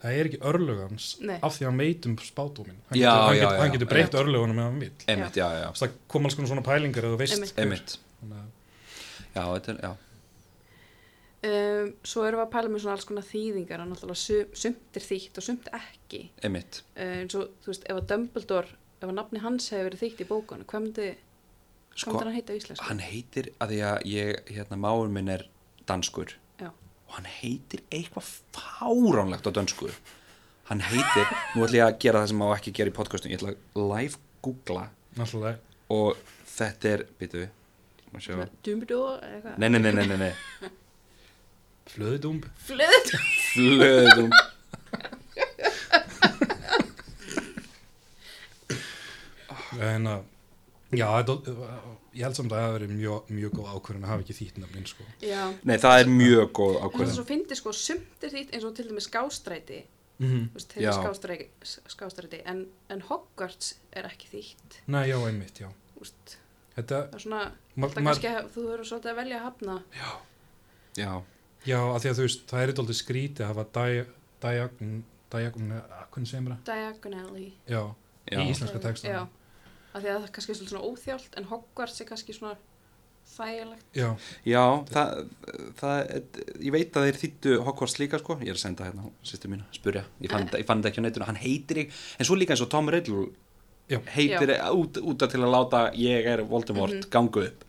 S1: það er ekki örlugans
S2: Nei.
S1: af því hann veit um spátuminn hann,
S3: Já,
S1: getur- hann,
S3: já,
S1: getur-
S3: já,
S1: hann getur
S3: já.
S1: breytt örlugunum ef hann vil
S3: emitt, já, já,
S1: Þú veist, það kom alls konar svona pælingar eða þú veist
S2: Einmitt.
S3: já emitt,
S1: Þannig að-
S3: já, þetta er, já
S2: Um, svo erum við að pæla með svona alls konar þýðingar að náttúrulega sum, sumt er þýtt og sumt ekki
S3: emitt,
S2: uh, eins og þú veist, ef að Dumbledore ef að nafni hans hefur verið þýtt í bókunum hvað myndi, hvað
S3: sko,
S2: myndi hann heita á íslensku?
S3: hann heitir að því að ég, hérna, máur minn er danskur
S2: Já.
S3: og hann heitir eitthvað fáránlegt á dönsku hann heitir, nú ætla ég að gera það sem má ekki gera í podcastum, ég ætla að live googla
S1: náttúrulega
S3: og þetta er, býtu má sjá.
S2: Svona Dumbledore eða eitthvað?
S3: Nei, nei, nei, nei, nei, nei.
S1: flöðdúmb
S2: Flöðut
S3: Flöðum
S1: en að Hérna, já, þetta, ég held samt að það hefur verið mjög, mjög góð ákvörðin að hafa ekki þýtt nafnin sko.
S2: Já,
S3: Nei, það er mjög góð
S2: en það er
S3: ákvörðum
S2: svo fyndi sko sumt er þýtt eins og til dæmis skástræti
S1: mm
S3: Mhm.
S1: -hmm.
S2: þú veist, þeir eru
S3: Já.
S2: skástræti, skástræti en, en Hogwarts er ekki þýtt
S1: Nei, já, einmitt, já
S2: þú veist,
S1: Þetta,
S2: það er svona
S1: ma,
S2: það
S1: ma,
S2: kannski, að- þú verður svolítið að velja að hafna
S3: Já,
S1: já, að því að þú veist það er eitthvað skrítið að hafa dag, dagagn, dagagn, ah, hvernig segir maður það?
S2: diagonally
S1: Já,
S3: já,
S1: í íslenska texta
S2: já, af því að það er kannski svolítið svona óþjált en Hogwarts er kannski svona þægilegt
S1: já,
S3: Já, það, það, ég veit að þeir þýttu Hogwarts líka sko, ég er að senda hérna sýstu mínu, spurja, ég fann, þetta- ég fann þetta ekki á netinu, hann heitir ekki, en svo líka eins og Tom Riddle
S1: Já.
S3: heitir út, út af til að láta ég er Voldemort
S2: Mhm.
S3: gangu upp,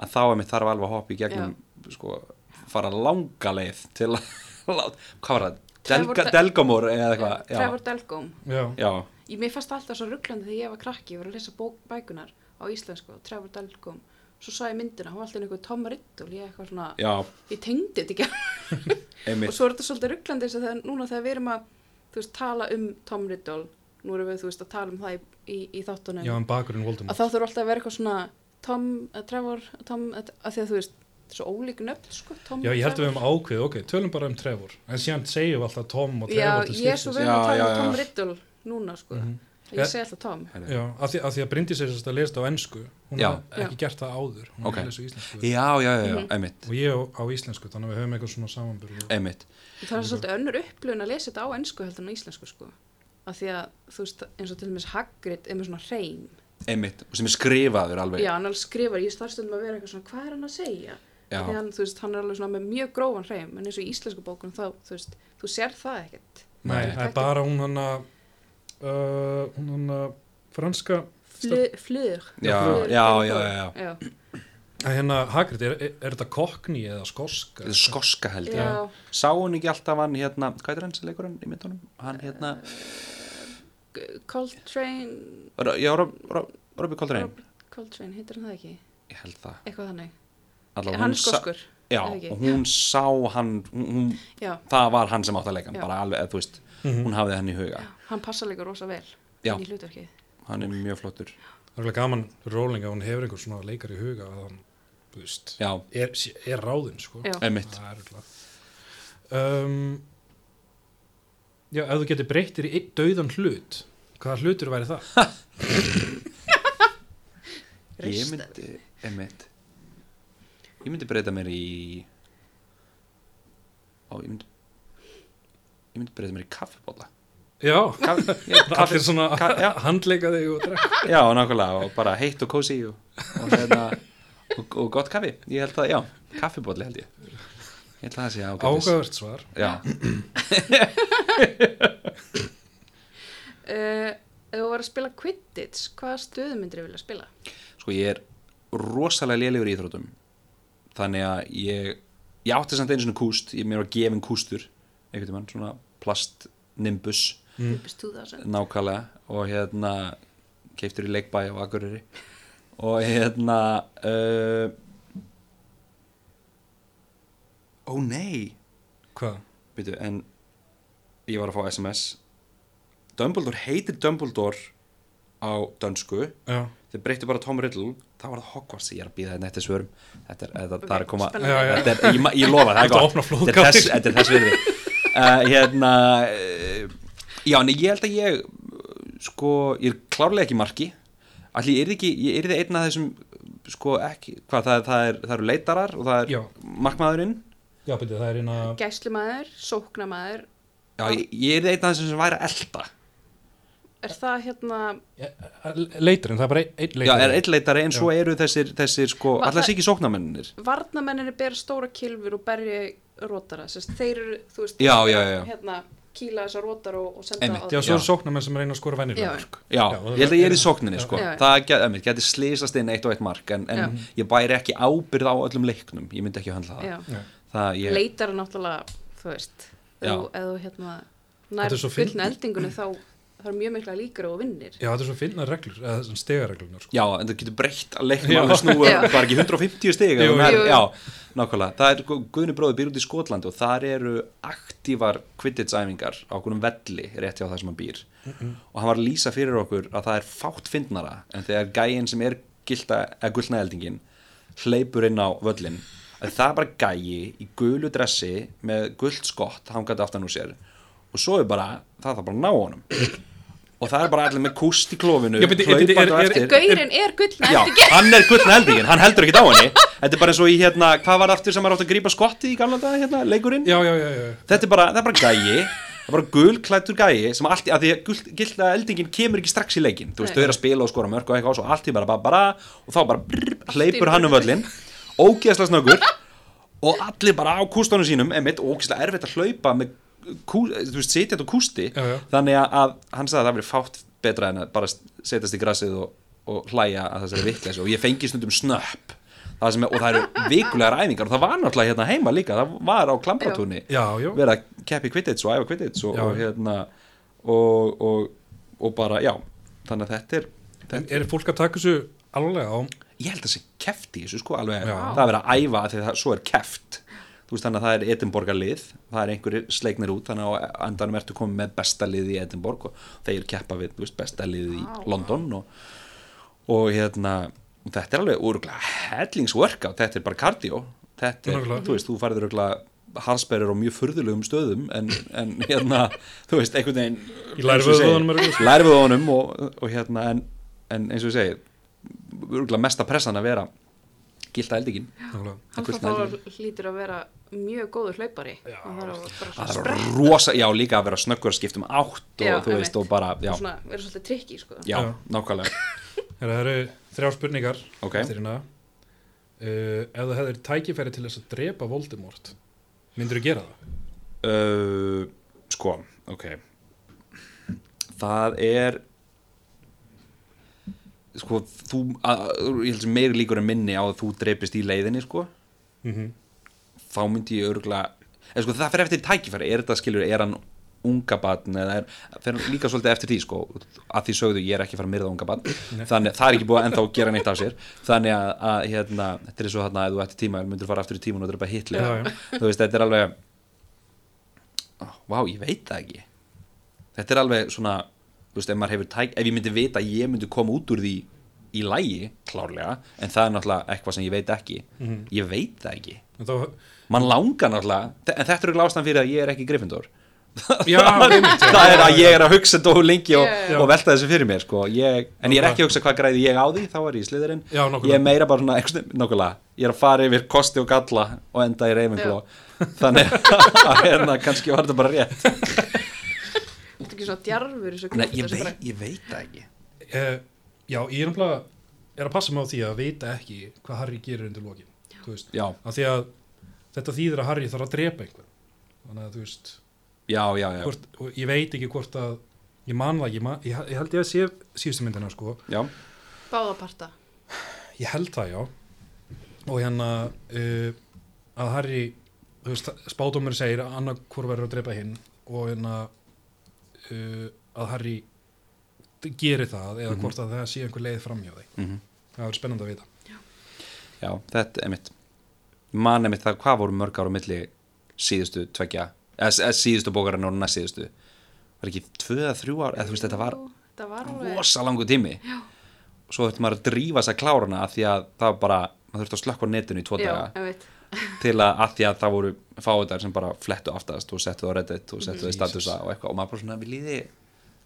S3: að þá er mitt þarf alveg að hoppa í gegnum, sko, fara langa leið til að, láta- hvað var það,
S2: Trevor
S3: Delga,
S2: Del-
S3: Delgamor eða eitthvað, já,
S2: Trevor Delgóm
S1: já,
S3: já,
S2: Ég, mér fannst alltaf svo rugglandi þegar ég var krakki, ég var að lesa bók, bækunar á íslensku og Trevor Dalgum. Svo sá ég myndina, hún var alltaf einhver Tom Riddle, ég eitthvað svona,
S3: já,
S2: ég tengdi þetta ekki. og
S3: einmitt,
S2: svo er þetta svolítið rugglandi þess að þegar, núna þegar við erum að, þú veist, tala um Tom Riddle, nú erum við, þú veist, að tala um það í, í, í þáttunum.
S1: já, en bakurinn Voldemort
S2: Að þá þurfa alltaf að vera eitthvað svona Tom, uh, Trevor, Tom, að, að því að þú veist, þetta er svo ólík nöfn, sko, Tom.
S1: Já,
S2: og
S1: ég held að við
S2: Trevor.
S1: höfum ákveð, ok, tölum bara um Trevor en síðan segjum við alltaf Tom og
S2: Já,
S1: Trevor til
S2: ég er svo
S1: skiptis.
S2: vel
S3: Já,
S2: að tala um
S3: já,
S2: Tom
S3: já.
S2: Riddle núna, sko.
S1: Mhm.
S2: Ég segi alltaf Tom.
S1: Já, af því, af því að Bryndís er sérst að lesa þetta á ensku hún
S3: Já.
S1: hafði ekki gert það áður hún
S3: Ok.
S1: okay. lesa á íslensku
S3: já, já, já,
S2: Mhm.
S3: já, einmitt, Eh,
S1: og ég á, á íslensku, þannig að við höfum eitthvað svona samanbyrðu
S3: einmitt,
S2: Það er svolítið önnur upplöfun að lesa þetta á ennsku heldur en á íslensku sko. Af því að þú veist eins og til dæmis Hagrid er með svona hreim.
S3: einmitt, og sem er skrifaður alveg,
S2: Já, hann alveg skrifar, ég starfstöndum að vera eitthvað svona, hvað er hann að segja?
S3: Já.
S2: Af Því hann, þú veist, hann er alveg svona með mjög grófan hreim, en eins og í íslensku bókunum þá, þú veist, þú sér það ekkert.
S1: Nei,
S3: Nei.
S1: það er bara hún hann að uh, hún hann að franska
S2: Flug, flug.
S3: já, já, já, já, já.
S2: Já,
S1: að hérna Hagrid, er, er, er þetta kokni eða skoska?
S3: Þetta er sko- skoska held ég
S2: já,
S3: sá hún ekki alltaf hann hérna hvað er hann sem leikur hann í myndunum hann hérna
S2: G- Coltrane,
S3: Ro- já Rob, Rob, Robbie Coltrane
S2: Robert Coltrane, heitir hann það ekki?
S3: ég held það
S2: Eitthvað þannig.
S3: Alla,
S2: hann er skoskur.
S3: já
S2: eða ekki?
S3: og hún sá hann hún, hún,
S2: Já,
S3: það var hann sem átt að leika hann
S2: Já.
S3: bara alveg eða þú veist
S1: Mhm.
S3: hún hafði hann í huga
S2: hann passa líka rosa vel
S3: Já.
S2: inn í hlutverkið.
S3: hann er mjög flottur
S1: Það er alveg gaman fyrir Rowling að hún hefur einhver svona leikar í huga að hann, þú veist,
S3: já
S1: er, er ráðinn, sko.
S2: Já.
S3: einmitt
S1: Það er alveg. Um, já, ef þú getur breyttir í einn dauðan hlut, hvaða hlutur væri það?
S3: ég
S2: Rist-
S3: myndi einmitt ég myndi breyta mér í ó ég myndi ég myndi breyta mér í kaffibólla
S1: Já,
S3: Kaff,
S1: allir svona
S3: ka- já.
S1: handleika þig og drekka.
S3: Já, nákvæmlega, og bara heitt og kósi og, og, hérna, og, og gott kaffi Ég held að, já, kaffibóli held ég Ég held að það sé ágætis
S1: Ágæðvert svar.
S3: Já,
S2: Uh, ef þú var að spila Quidditch, hvaða stöðu myndir ég vilja spila?
S3: sko ég er rosalega lélegur í íþrótum Þannig að ég, ég átti samt einu svona kúst Ég mér var gefin kústur, einhvern tímann, svona plastnimbus
S1: Mm.
S2: Nimbus 2000
S3: Nákvæmlega, og hérna, keiftur í leikbæ á Akureyri Og hérna, uh, ó nei
S1: Hvað?
S3: Býtu, en ég var að fá SMS Dumbledore heitir Dumbledore á dönsku
S1: Já,
S3: þeir breyttu bara Tom Riddle þá var það Hogwarts ég er að býða þetta eftir svörum þetta er, þetta, það er að koma
S2: spennandi.
S1: já, já.
S3: þetta er, ég, ma- ég lofa það er
S1: Þetta
S3: gott.
S1: opnar
S3: þetta er
S1: flóðgáttir.
S3: þess, þetta er þess virði uh, hérna uh, já, en ég held að ég uh, sko, ég er klárlega ekki í marki allir, ég er ekki, ég er þið einn af þessum sko, ekki, hvað, það, það, er, það eru leitarar og það er
S1: Já.
S3: markmaðurinn
S1: já, byrju, það er eina...
S2: Gæslumaður, sóknamaður
S3: já, ég, ég er þið einn af þessum sem væri að elta
S2: Er það hérna
S1: Leiturinn, það er bara einn leiturinn.
S3: Já, er einn leitari en svo eru þessir, þessir sko,
S2: Va-
S3: allar
S2: það-
S3: sé ekki sóknarmennir
S2: Varnamenninni ber stóra kilfur og berja rótara Sest, Þeir eru, þú veist,
S3: Já, já, já, já.
S2: hérna kýla þessa rótara og, og senda
S3: Einmitt,
S2: á
S1: Já, sko.
S2: þig.
S1: svo
S3: Já.
S1: er sóknarmenn sem reyna að skora vennilega
S2: Já.
S1: mörg.
S3: Já,
S1: og
S3: ég held að ég er í
S1: það-
S3: sókninni sko
S2: Já.
S3: Það get, einmitt, geti slisast inn eitt og eitt mark En, en ég bæri ekki ábyrð á öllum leiknum Ég myndi ekki að höndla það,
S2: Já.
S1: Já.
S3: það ég,
S2: Leitar er náttúrulega, þú veist
S3: Já.
S2: Þú- Ef þú hérna
S1: Þetta
S2: nær
S1: er svo fyndið.
S2: gullna eldingunni þá það er mjög mikla líkur og vinnir
S1: Já, þetta er svo finna reglur, eða stegareglunar, sko.
S3: Já, en það getur breytt að leiknum
S1: Já.
S3: alveg snúið
S2: Já.
S3: Það er ekki 150 stig
S1: Jú,
S3: ef þú nær-
S2: jú.
S3: Já, nákvæmlega Það er, Gu- Guðni bróður býr út í Skotlandi Og þar eru aktívar kvittitsæfingar Á okkunum velli rétt hjá það sem hann býr Og hann var að lýsa fyrir okkur Að það er fátt fyndnara En þegar gæin sem er gilda, eða gullna eldingin Hleypur inn á völlin að Það er bara gæi í gulu dressi Með gullt skott hangandi aftan úr sér Og svo er bara, það er bara að ná honum Og það er bara allir með kúst í klófinu
S1: Já, bíddu,
S3: hlaupandi
S1: er- er-
S3: á
S1: er-
S3: eftir.
S2: Gaurinn er gullna
S3: Já,
S2: elding
S3: hann er gullna eldingin, hann heldur ekkert á henni Þetta er bara eins og í hérna, hvað var aftur sem maður átt að grípa skotti í gamla daga hérna, leikurinn
S1: Já, já, já, já.
S3: Þetta er bara, það er bara gæi, það er bara gulklættur gæi sem allt, í- að því að gul- gullna eldingin kemur ekki strax í leikinn Þú
S2: Nei.
S3: veist, þau eru að spila og skora mörg og eitthvað og svo allt í bara bara bara og þá bara brr, hleypur hann um völlin ógeðslega snöggur og allir bara á kústunum sínum emitt og ógeðslega erfitt að hlaupa með kú, þú veist, setja þetta á kústi
S1: Já, já.
S3: þannig að, að hann sagði að það verið fátt betra en að bara setjast í grassið og, og hlæja að þessari vitleysu og ég fengi stundum snöpp Það sem er, og það eru vikulegar æfingar og það var náttúrulega hérna heima líka, það var á klampratúni
S1: Já, já.
S3: verið að keppi Quidditch og æfa Quidditch og,
S1: Já.
S3: og hérna og, og, og bara, já þannig að þetta er,
S1: En
S3: þetta,
S1: er fólk að taka þessu alveg á
S3: ég held að það sé keft í þessu sko alveg,
S1: Já.
S3: það er verið að æfa af því að það, svo er keft þú veist þannig að það er Edinborgar lið það er einhverjir sleiknir út þannig að á endanum ertu komið með besta lið í Edinborg og þeir keppa við þú veist, besta lið í
S2: Vá.
S3: London og, og hérna þetta er alveg úruglega hellingsworkout, þetta er bara kardió þetta er,
S1: Nákvæmlega.
S3: þú veist, þú farið úruglega halsberður á mjög furðulegum stöðum en, en hérna, þú veist, einhvern veginn
S1: Í lærvöðvunum eru-
S3: lærföðunum og, og hérna en, en eins og ég segi örgulega mesta pressan að vera gilda eldingin
S1: Nákvæmlega.
S2: Hann
S3: Einhvern
S2: þá þá hlýtur að vera mjög góður hlaupari
S1: Já.
S2: Hann þarf að bara
S3: að
S2: svona
S3: það
S2: spretta
S3: var rosa, já líka að vera snöggur að skipta um átt og
S2: Já,
S3: þú veist
S2: einmitt.
S3: og bara, já,
S2: og svona, vera svolítið trikki sko.
S3: já,
S1: Já.
S3: nákvæmlega
S1: Herra, Það eru þrjár spurningar
S3: Ok.
S1: eftir hérna. Uh, ef þú hefðir tækifæri til þess að drepa Voldemort, myndirðu gera það?
S3: uh, sko, ok það er sko, þú að, ég held sem meiri líkur en minni á að þú dreipist í leiðinni, sko
S1: Mm
S3: þá myndi ég örgulega eða sko það fer eftir tækifæri, er þetta skilur er hann unga batn eða er, fer hann líka svolítið eftir því sko að því sögðu ég er ekki að fara að myrða unga batn þannig að það er ekki búið að ennþá gera neitt af sér þannig að, að hérna, þetta er svo þarna að þú ætti tíma, myndir fara aftur í tíman og drepa hitli
S1: Já, já.
S3: þú veist, þetta er alveg oh, vá, ég veit það ekki þetta er alveg svona þú veist, ef maður hefur tæk, ef ég myndi vita að ég myndi koma út úr því í lægi, klárlega, en það er náttúrulega eitthvað sem ég veit ekki
S1: Mhm.
S3: ég veit það ekki
S1: En þá,
S3: mann langar náttúrulega, þe- en þetta eru glástan fyrir að ég er ekki Gryffindor
S1: já, einmitt, já.
S3: það er að ég er að hugsa dó lengi og,
S2: Já, já.
S3: og velta þessu fyrir mér sko. ég, en ég er ekki að hugsa hvað græði ég á því þá er ég í sliðurinn,
S1: Já, nákvæmlega.
S3: ég er meira bara svona, einhvern veginn- nákvæmlega, ég er að fara yfir kosti og galla og enda í reyfingló þannig að hérna kannski var þetta bara rétt
S2: Þetta er ekki svona djarfur í þessu
S3: Nei,
S2: kúrt,
S3: ég,
S2: þessu
S3: veit,
S2: bara-
S3: ég veit það ekki
S1: Eh, já, ég er náttúrulega er að passa mig á því að vita ekki hvað Harry gerir undir lokin þú veist,
S3: já,
S1: af því að þetta þýðir að Harry þarf að drepa einhvern þannig að þú veist,
S3: já, já, já,
S1: hvort, og ég veit ekki hvort að ég man það, ekki, ég, man, ég, ég held ég að sé síðustu myndina sko,
S3: já.
S2: Báða parta
S1: ég held það já og hérna uh, að Harry þú veist, spátumur segir að annað hvort verður að drepa hinn og hérna uh, að Harry gerir það eða hvort að það sé einhver leið framhjá því
S3: Mm -hmm.
S1: það verður spennandi að vita
S3: já þetta er mitt man er mitt það, hvað voru mörg ára milli síðustu tvekja eða eða síðustu bókarinn og næst síðustu var ekki tvö að þrjú ár eða þú veist þetta var
S2: Jú, Þetta var alveg
S3: rosa langu tími já. svo þurfti maður að drífa sig að klára hana af því að það var bara, maður þurfti að slökka á netinu í tvo
S2: Já,
S3: daga
S2: ég veit
S3: til að, að því að það voru fáiðar sem bara flettu aftast og settu það á reddit og settu það í statusa og eitthvað og maður bara svona við líði,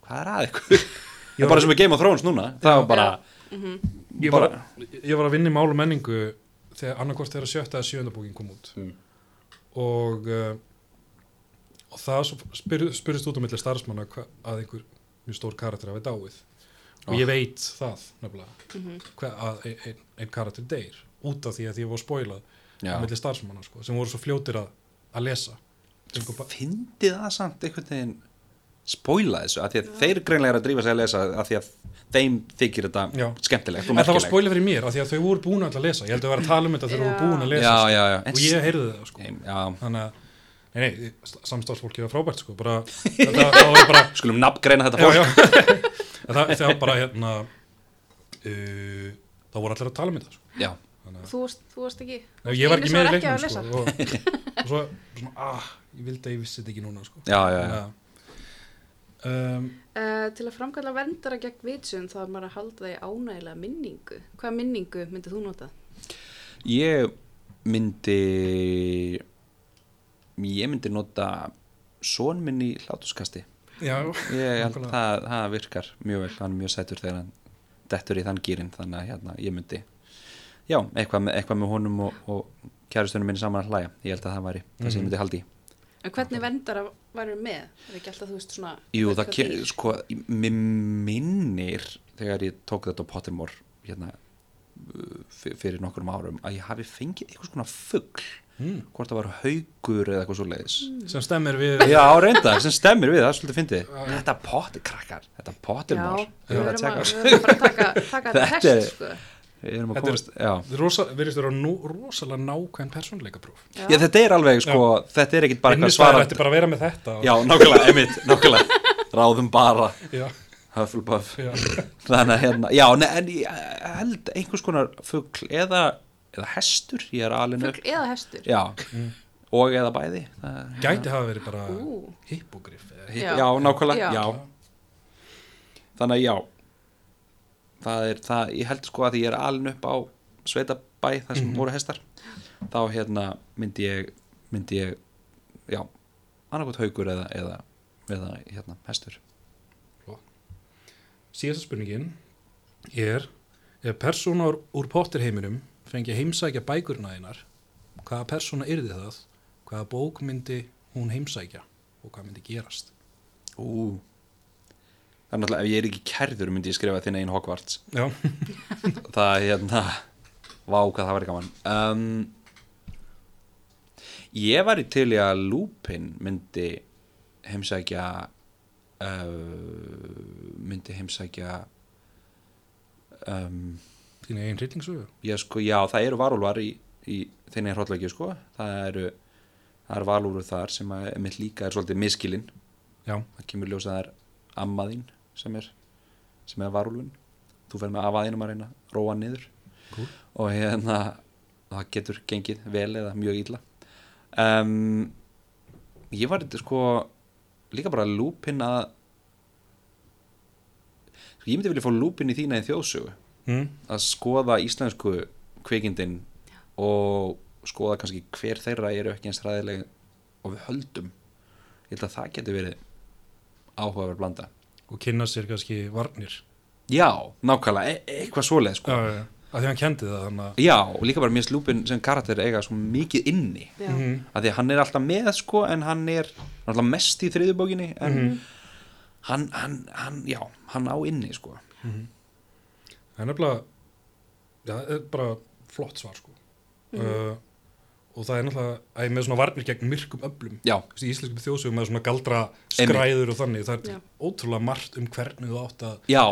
S3: hvað er að ykkur það
S1: var-
S3: er bara sem við Game of Thrones núna það var bara,
S2: Mhm.
S1: ég var, ég var að vinna í mál og menningu þegar annarkort þegar sjötta eða sjönda bókin kom út
S3: Mm.
S1: og uh, og það svo spyr, spyrist út á milli starfsmanna hva, að einhver mjög stór karakter hafi dáið
S3: Ah.
S1: og ég veit það nefnilega hva, að ein, ein, ein karakter deyr út af því að því ég var spoilað
S3: Já.
S1: á milli starfsmanna sko, sem voru svo fljótir að, að lesa Sem kom bara-
S3: fyndi það samt einhvern veginn spoila þessu, af því að þeir greinlega er að drífa sig að lesa af því að þeim þykir þetta
S1: Já.
S3: skemmtilegt og
S1: en það var
S3: merkilegt
S1: spoilað fyrir mér af því að þau voru búin að lesa ég held að vera að tala um þetta þegar þau voru
S2: Já.
S1: búin að lesa
S3: Já,
S1: sko.
S3: já, já. En
S1: og ég heyrði það sko.
S3: já,
S1: þannig að nei, nei, samstafsfólki var frábært sko bara, það, það var bara
S3: skulum nafngreina þetta
S1: já,
S3: fólk
S1: já. það, það var bara hérna uh, þá voru allir að tala um þetta sko.
S3: já,
S1: þannig að
S2: Þú varst, þú varst ekki
S1: Nei, ég var
S2: Elís
S1: ekki með í
S2: að
S1: leiknum
S2: lesa.
S1: sko, og, og svo, svona, ah, ég vildi að ég vissi þetta ekki núna sko.
S3: já, já, já.
S1: Þannig að, um,
S2: Eh, Til að framkalla verndara gegn vitsum þá er maður að halda því ánægilega minningu Hvaða minningu myndið þú nota?
S3: Ég myndi ég myndi nota són minn í hlátuskasti
S1: já,
S3: ég held
S1: nákvæmlega.
S3: það, það virkar mjög vel hann er mjög sætur þegar hann dettur í þann gýrin þannig að hérna, ég myndi já, eitthvað með, eitthvað með honum og, og kjæristunum minni saman að hlæja ég held að það væri það sem ég myndi haldi í
S2: En hvernig verndara varum með? Er ekki alltaf þú veist svona
S3: Jú,
S2: eitthvað
S3: það sko, kemur,
S2: dýr?
S3: sko, mér minnir þegar ég tók þetta á Pottermore hérna, uh, f- fyrir nokkrum árum að ég hafi fengið eitthvað svona fugl hvort það var haugur eða eitthvað svo leiðis
S1: sem stemmir við
S3: Já, reynda, sem stemmir við, það er svolítið fyndið Þetta potti, krakkar, þetta pottir
S2: Já,
S3: mál
S2: við verðum að, við verðum
S3: Við erum að tjekka
S2: að fara að taka, taka
S3: Þetta
S2: test,
S3: er-
S2: sko.
S3: Við erum að
S1: Þetta er-
S3: komast, já
S1: rosa, virðist vera nú, rosalega nákvæm persónleika próf
S2: Já.
S3: Já, þetta er alveg, sko, þetta er ekkit bara eitthvað
S1: Innistæður
S3: svara
S1: ætti bara að vera með þetta og-
S3: Já, nákvæmlega, emitt, nákvæmlega Ráðum bara,
S1: já,
S3: Hufflepuff
S1: já.
S3: Þannig að hérna, já, ne, en ég eh, held einhvers konar fugl eða, eða hestur, ég er alin upp
S2: Fugl eða hestur.
S3: Já,
S1: Mm.
S3: og eða bæði það,
S1: gæti hafa verið bara
S2: Ú.
S1: hippogriff eða hipp-
S3: já.
S2: Já.
S3: nákvæmlega,
S2: Já.
S3: já. Þannig að já Það er það, ég held sko að því ég er alin upp á sveitabæ þar sem voru hestar þá hérna myndi ég myndi ég, já annarkot haugur eða, eða, eða hérna, hestur
S1: síðasta spurningin er ef persónar úr potterheiminum fengi að heimsækja bækurna einar hvaða persóna yrði það hvaða bók myndi hún heimsækja og hvað myndi gerast
S3: Ú Það er náttúrulega, ef ég er ekki kærður myndi ég skrifa þinn einn Hogwarts
S1: já,
S3: það er hérna vá hvað það væri gaman um, ég væri til í að Lupin myndi heimsækja uh, myndi heimsækja um,
S1: þín eigin hryllingsögu
S3: já sko já það eru varúlvar í, í þinni hróllegi sko það eru það eru varúlvar þar sem að mitt líka er svolítið miskilinn
S1: já,
S3: það kemur ljósa það er ammaðinn sem er, sem er varúlfin þú fer með afaðinum að reyna að róa hann niður
S1: Cool.
S3: og hérna það getur gengið vel eða mjög illa um, ég var þetta sko líka bara lúpin að ég myndi vilja fá lúpin í þína í þjóðsögu
S1: mm.
S3: að skoða íslensku kvikindin og skoða kannski hver þeirra eru ekki eins ræðileg og við höldum ég held að það getur verið áhugaverð blanda
S1: og kynna sér kannski varnir
S3: já, nákvæmlega, e eitthvað svoleið sko.
S1: já, já, já, af því hann kendi það þannig að
S3: já, og líka bara mér slúpin sem karakter eiga svo mikið inni
S2: Já.
S1: Mhm.
S3: að því að hann er alltaf með sko en hann er alltaf mest í þriðubókinni en
S1: Mhm.
S3: hann, hann, hann, já, hann á inni sko
S1: Það er nefnilega, já, það er bara flott svar sko. uh, og það er náttúrulega, að með svona varnir gegn myrkum öflum,
S3: já,
S1: Þú veist, í íslenskum þjóðsögum með svona galdra skræður og þannig, það er
S2: Já.
S1: ótrúlega margt um hvernig þú átt að,
S3: já,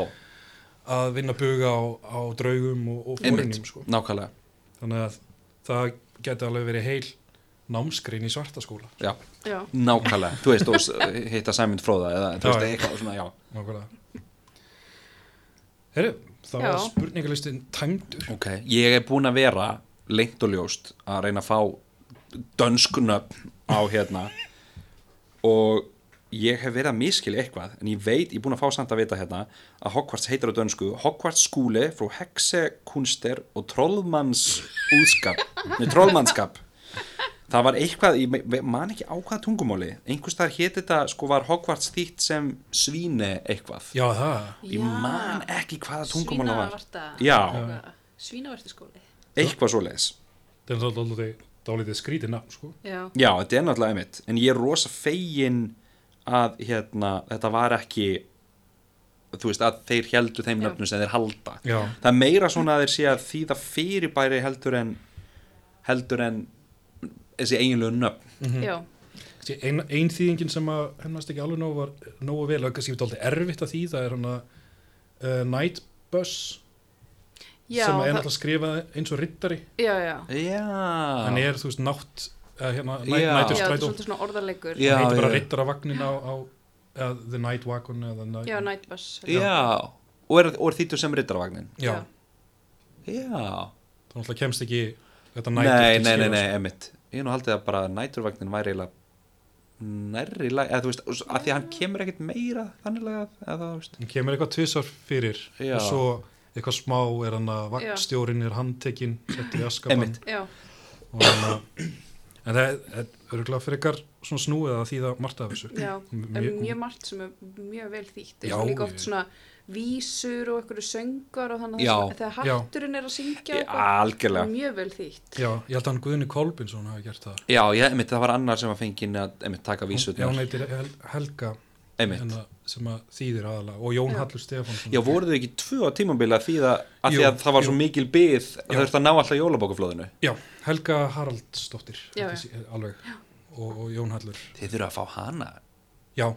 S1: að vinna buga á, á draugum og, og
S3: einmitt,
S1: fórinum sko.
S3: nákvæmlega
S1: Þannig að það geti alveg verið heil námskrein í svartaskóla.
S3: já,
S2: Já.
S3: nákvæmlega, þú veist, og s- hitta Sæmund Fróða eða, þú
S1: Já,
S3: veist,
S1: já.
S3: eitthvað svona, já
S1: Nákvæmlega. Herru, það
S2: Já.
S1: var spurningalistin tæmdur.
S3: Ok, ég er búin að vera lengt og ljóst að reyna að fá dönsknöfn á hérna og ég hef verið að miskilja eitthvað en ég veit, ég er búin að fá samt að vita hérna að Hogwarts heitir á dönsku Hogwarts skúli frú heksekunster og trollmanns úðskap nei, trollmannskap það var eitthvað, ég me- man ekki á hvaða tungumáli einhvers þar héti þetta, sko var Hogwarts þýtt sem svíne eitthvað
S1: Já, það.
S3: ég man ekki hvaða tungumáli það var
S2: Svínavarta.
S3: Já.
S2: Svínavartaskóli.
S3: eitthvað svoleiðis
S1: Það er náttúrulega dálítið- dálítið skrítið nafn sko.
S2: Já.
S3: Já, þetta er náttúrulega einmitt En ég er rosa fegin að hérna, þetta var ekki þú veist, að þeir heldur þeim
S2: Já.
S3: nöfnum sem þeir halda
S1: Já.
S3: Það er meira svona að þeir sé að þýða fyrirbæri heldur en heldur en þessi eiginlegu nöfn
S1: Mhm.
S2: Já.
S1: Kannski Ein, ein þýðingin sem að hennast ekki alveg nógu var nógu vel og kannski alltaf erfitt að þýða er hann að uh, Night Bus
S2: Já.
S1: sem er
S2: það-
S1: náttúrulega skrifað eins og rittari
S2: Já, já.
S3: Já
S1: hann er þú veist nátt uh, hérna, night,
S3: Já.
S2: Já, þetta er
S1: næturstrætó
S2: svolítið svona orðarleikur.
S3: Já,
S1: hann heitir bara
S3: já.
S1: rittaravagnin á, á uh, The Night Wagon eða night,
S2: Já, Nightbus.
S3: Já, og er, og er þýttur sem rittarvagnin
S1: já.
S3: Já,
S1: það náttúrulega kemst ekki þetta night
S3: nei, nei, nei,
S1: sko.
S3: nei, einmitt Ég hef nú haldið að bara næturvagnin væri eiginlega nærri lag, eða þú veist, að því að hann kemur ekkert meira þannig lagað, eða þú veist
S1: hann kemur eitthvað tvisar fyrir
S3: Já.
S1: og svo eitthvað smá er hann að
S2: Já.
S1: vagnstjórin er handtekinn settur í askabann
S3: Einmitt.
S2: Já.
S1: og hann að en það er örgulega fyrir ykkar svona snúið að þýða margt af þessu
S2: Já,
S1: Mjög-
S2: er mjög margt sem er mjög vel þýtt
S1: Já,
S2: já, líka
S1: ég-
S2: oft svona vísur og einhverju söngar og þannig
S3: Já.
S2: að það- þegar
S1: Já.
S2: hatturinn er að syngja
S3: Já,
S2: og eitthvað,
S3: algjörlega.
S2: mjög vel þýtt
S1: já, ég held að hann Guðni Kolbinsson hafi gert það
S3: Já, ég, einmitt, það var annar sem var fengið að einmitt, taka
S1: Hún- já,
S3: vísutnar
S1: hún heitir Hel Helga
S3: Einmitt.
S1: hérna, sem að þýðir aðalega og Jón
S2: Já.
S1: Hallur Stefánsson
S3: Já, voru þau ekki tvö á tímambila því að, að,
S1: Jú,
S3: því að það var svo
S1: jú.
S3: mikil byð að
S1: Já.
S3: það þurfti að ná alltaf jólabókaflóðinu
S1: Já, Helga Haraldsdóttir
S2: Já,
S1: held ég sé- alveg og, og Jón Hallur
S3: Þið þurfa að fá hana
S1: Já,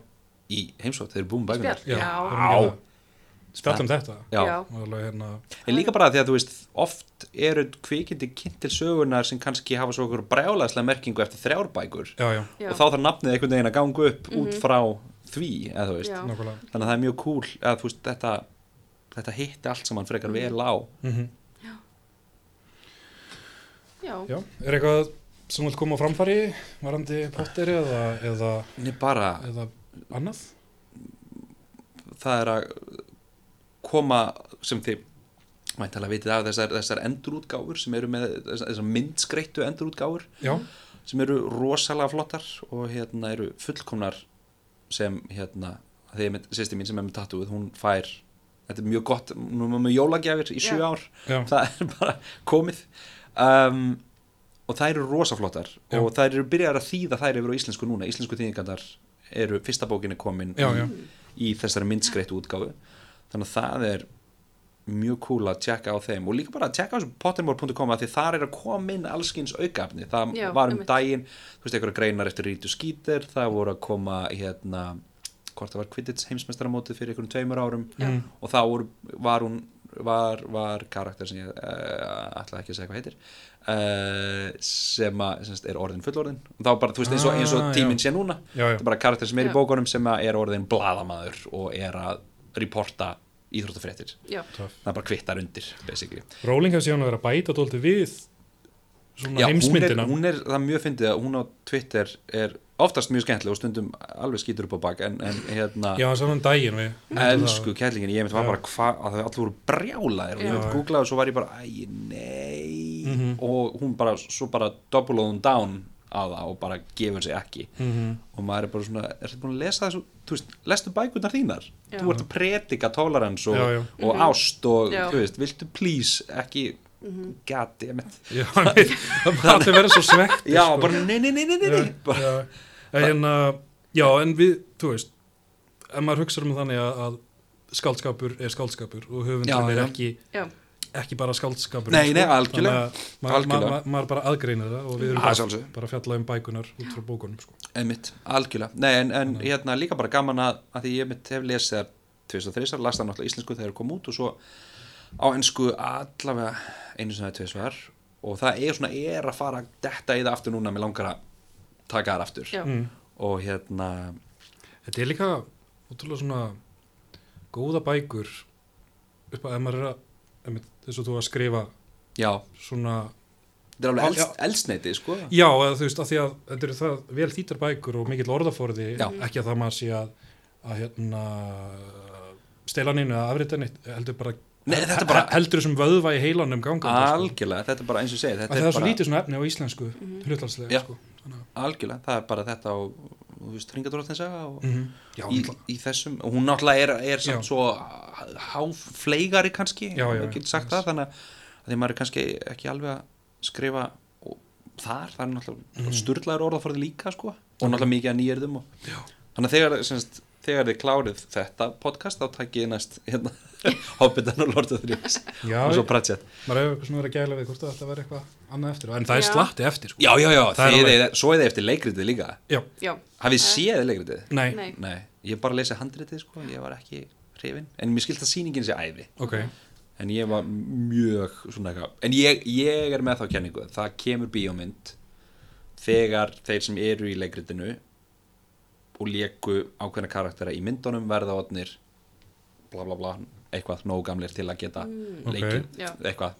S3: í heimsótt, þeir eru búin bækunar
S2: Spjall. Já.
S1: já. hérna Spjallum um þetta
S3: Já.
S2: já,
S1: Og alveg hérna
S3: En líka bara því að þú veist, oft eru kvikindi kynnt til sögunar sem kannski hafa svo okkur brjálæðslega merkingu eftir þrjár bækur
S1: Já, já,
S2: já. Mhm.
S3: og þá þarf nafnið einhvern veginn að ganga upp út frá því, eða þú veist
S2: Já.
S1: nákvæmlega
S3: Þannig að það er mjög cool að þú veist, þetta, þetta hitti allt saman
S2: Mhm.
S3: frekar vel á
S1: mm
S3: Mhm.
S2: já.
S1: Já, er eitthvað sem vil koma á framfæri varandi potteri eða, eða,
S3: Nei, bara,
S1: eða annað?
S3: það er að koma sem þið mættalega vitið af þessar, þessar endurútgáfur sem eru með þessar, þessar myndskreittu endurútgáfur
S1: Já,
S3: sem eru rosalega flottar og hérna eru fullkomnar sem hérna þegar sýsti mín sem er með tattúið hún fær, þetta er mjög gott hún er með jólagjafir í sjö
S2: Já.
S3: ár
S1: já,
S3: það er bara komið um, og þær eru rosaflottar
S1: Já.
S3: og þær eru byrjar að þýða þær yfir á íslensku núna, íslensku þýðingandar eru fyrsta bókinni komin
S1: Já, já.
S3: í, í þessari myndskreittu útgáfu þannig að það er mjög cool að tjekka á þeim og líka bara að tjekka á þessum pottermore.com að því þar er að koma inn allskins aukafni, það
S2: Já,
S3: var um
S2: einmitt.
S3: daginn þú veist, einhverja greinar eftir Rítu Skíter það voru að koma hérna hvort það var Quidditch heimsmeistaramótið fyrir einhverjum tveimur árum
S2: Já.
S1: Mm.
S3: og þá voru, var hún var, var karakter sem ég uh, ætla ekki að segja hvað heitir uh, sem, að, sem sagt, er orðin fullorðin og þá bara, þú veist, eins og, eins og
S1: Ah,
S3: tíminn sé núna
S1: já, já,
S3: það er bara karakter sem er
S2: Já.
S3: í bókunum sem að er orðin bladamaður og er að reporta íþróttafréttir
S2: já.
S1: töff.
S3: það bara kvittar undir, basically
S1: Róling hefur síðan að vera að bæta dólti við svona
S3: Já, hún er,
S1: heimsmyndina.
S3: hún er, það er mjög fyndið að hún á Twitter er oftast mjög skemmtileg og stundum alveg skýtur upp á bak en, en hérna,
S1: Já, saman daginn við.
S3: elsku kællingin ég myndi var
S1: Já.
S3: bara hvað, að þau allir voru brjálaðir
S2: Já.
S3: og ég myndi googlaði og svo var ég bara æ, nei
S1: Mhm.
S3: og hún bara, svo bara double on down að það og bara gefur sig ekki
S1: Mm
S3: og maður er bara svona, er þetta búin að lesa þessu þú veist, lestu bækurnar þínar
S2: Já.
S3: þú ert að predika tolerans og,
S1: Já, já.
S3: og ást og
S2: Mhm. Já. Mhm.
S3: þú veist, viltu please ekki, mm -hmm. goddammit
S1: Já, það bara allir verið svo svektir.
S3: já, bara nei, nei, nei, nei, nei, nei.
S1: Já,
S3: Bara,
S1: já. En, hérna, já, en við, þú veist, ef maður hugsa um þannig að, að skáldskapur er skáldskapur og höfundur
S3: Já,
S1: er
S3: já.
S1: ekki,
S2: Já.
S1: ekki bara skáldskapur.
S3: Nei, nei,
S1: Þannig
S3: algjörlega
S1: að maður ma
S3: Algjörlega.
S1: ma ma bara aðgreina það og við erum
S3: Að
S1: bara,
S3: sjálfsögðu.
S1: bara að fjalla um bækunar út frá bókunum, sko.
S3: Einmitt, algjörlega. Nei, en,
S1: Mhm.
S3: en hérna líka bara gaman að, að því ég mitt hef lesið þær tvist og þrisar, las það náttúrulega í íslensku þegar það kom út og svo á ensku allavega einu sem það er tvisvar og það er svona, er að fara að detta í það aftur núna með langar að taka þar aftur
S2: Já.
S1: Mm.
S3: og hérna,
S1: Þetta er líka útrúlega svona góða bækur upp að ef maður er að, einmitt, þess að þú að skrifa
S3: já,
S1: svona,
S3: þetta er alveg
S1: Já.
S3: elst, elsneiti, sko.
S1: já, eða, þú veist, að því að þetta eru það vel þýtar bækur og mikill orðaforði,
S3: Já.
S1: ekki að það maður sé að, að hérna, stela neinu eða afrita neitt, heldur bara,
S3: Nei, þetta er bara-
S1: heldur þessum vöðva í heilanum ganga.
S3: Algjörlega, þetta er bara eins og ég segi, þetta
S1: sko. Það er svo
S3: bara,
S1: lítið svona efni á íslensku,
S2: Mhm.
S1: hlutlanslega,
S3: Já.
S1: sko. Þannig, að-
S3: algjörlega, það er bara þetta og, þú veist, ringadróttin sagða og...
S1: Mhm. Já,
S3: í,
S1: náttúrulega.
S3: í þessum og hún náttúrulega er, er
S1: Já.
S3: samt svo háfleigari kannski
S1: Já, já,
S3: maður getur sagt
S1: já.
S3: það þannig að- að því maður er kannski ekki alveg að skrifa og þar, það er náttúrulega mm. sturlaður orðaforði líka sko og náttúrulega mikið að nýjörðum og
S1: Já.
S3: þannig að þegar, semst, þegar þið klárið þetta podcast þá takkið næst hérna, Hobbitan og Lord of the Rings
S1: já,
S3: og svo Pratchett
S1: maður hefur eitthvað svona verið að gæla við hvort að þetta verði eitthvað annað eftir, en það er
S2: Já.
S1: slatti eftir, sko.
S3: Já, já, já,
S1: Það er
S3: þið, þið, svo er þið eftir leikritið líka
S1: Já,
S2: já.
S3: hafið þið séð leikritið?
S1: nei,
S2: Nei.
S3: Nei, ég bara lesi handritið sko, ég var ekki hrifin, en mér skilst að sýningin sé æði
S1: ok.
S3: en ég var mjög svona eitthvað en ég, ég er með þá kenningu það kemur bíómynd þegar þeir sem eru í leikritinu og leku ákveðna karaktera í myndunum verða odnir bla bla bla eitthvað nóg gamlir til að geta
S2: Mm.
S1: Ok.
S3: leikið
S2: Já.
S3: eitthvað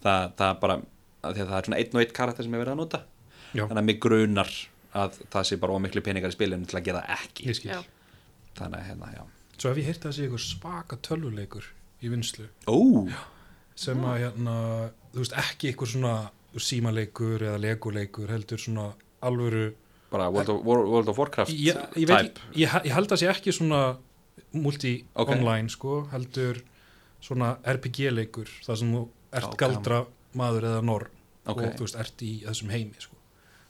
S3: það, það er bara af því að það er svona einn og einn karakter sem er verið að nota
S1: Já,
S3: þannig að mig grunar að það sé bara ómiklu peningar í spilinu til að gera ekki
S1: ég skil.
S2: Já.
S3: þannig að hérna já
S1: Svo hef ég heyrt að það sé eitthvað svaka tölvuleikur í vinslu
S3: ó
S1: sem að hérna, þú veist, ekki eitthvað svona símaleikur eða leguleikur heldur svona alvöru
S3: bara World of, World of Warcraft
S1: ég, ég, veit, ég, ég, ég held að sé ekki svona
S3: Ok.
S1: multi-online sko, heldur svona RPG-leikur þar sem þú ert
S3: Já,
S1: galdra maður eða norr
S3: Ok.
S1: og þú veist, ert í þessum heimi sko.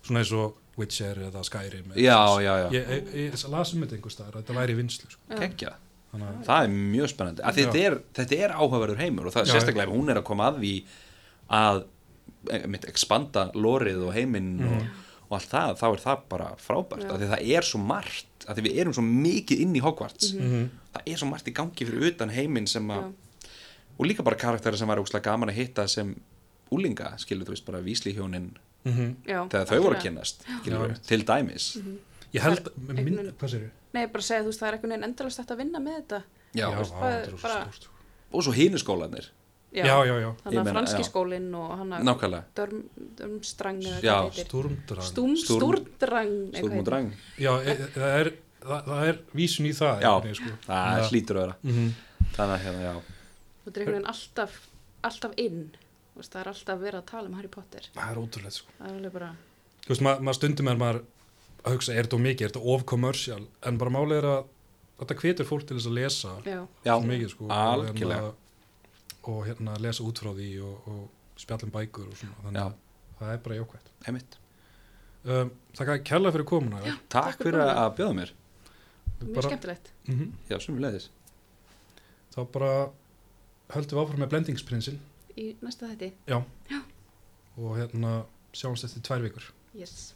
S1: svona eins og Witcher eða Skyrim eða
S3: já,
S1: svoleiðis.
S3: já, já,
S1: Ég, ég, ég lasum þetta einhver staðar, að þetta væri í vinnslu sko.
S3: kekja
S1: Þannig að
S3: það er mjög spennandi af því
S1: Já.
S3: þetta er, þetta er áhugaverður heimur og það er
S1: Já,
S3: sérstaklega ef hún er að koma að því að eh, mitt expanda lórið og heiminn
S1: Mhm.
S3: og, og allt það, þá er það bara frábært
S2: Já.
S3: af því það er svo margt, af því við erum svo mikið inn í Hogwarts
S1: Mhm.
S3: það er svo margt í gangi fyrir utan heiminn sem að og líka bara karakterar sem var ógslag gaman að hitta sem úlinga, skilur þú veist bara víslihjónin
S1: Mhm.
S2: já.
S3: þegar þau voru að
S2: algjörlega.
S3: kynnast skilur,
S1: Já.
S3: til dæmis
S1: ég held, með minn,
S2: Einhvern-
S1: hvað sér ég?
S2: Nei, bara að segja, þú veist, það er einhvern veginn endalast þetta að vinna með þetta.
S3: já.
S1: já,
S2: það
S1: það
S2: er
S1: er rosa
S2: bara-
S1: stórt, sko.
S3: og svo hinu skólanir
S1: já, já, já,
S3: Ég
S2: Þannig að
S3: meina,
S2: franski
S3: já.
S2: skólinn og hann að
S3: nákvæmlega,
S2: dörm, dörmstrang eða
S3: Já,
S2: hvað heitir.
S1: stúrmdrag
S2: Stúm,
S3: Stúrm-
S2: stúrdrang. eitthvað
S3: stúrm og
S2: heitir.
S3: drang
S1: já, e, e- það er það, það er vísun í það
S3: Já.
S1: einhvern veginn, sko.
S3: það
S1: Já.
S3: hlýtur að vera
S1: Mhm.
S3: þannig að hérna, já,
S2: Þetta er einhvern veginn alltaf, alltaf inn. Þú veist, það er alltaf verið að tala um Harry Potter.
S1: það er ótrúlega sko.
S2: Það er alveg bara,
S1: þú veist, ma- maður stundum er maður að hugsa, er þetta of mikið, er þetta of commercial en bara málið er að þetta hvetur fólk til þess að lesa
S2: já,
S3: já,
S1: svo mikið sko og,
S3: algjörlega.
S1: hérna, og hérna lesa út frá því og, og spjallum bækur og svona þannig
S3: Já.
S1: að það er bara jákvæmt
S3: heimitt
S1: um, Þakka kærlega fyrir komuna Já,
S3: takk fyrir að að bjóða mér
S2: mjög
S1: bara,
S2: skemmtilegt.
S1: mm
S3: já, sumulegðis,
S1: Þá bara höldum við áfram með blendingsprinsin
S2: Í næsta þætti,
S1: og hérna sjáumst eftir tvær vikur
S2: yes.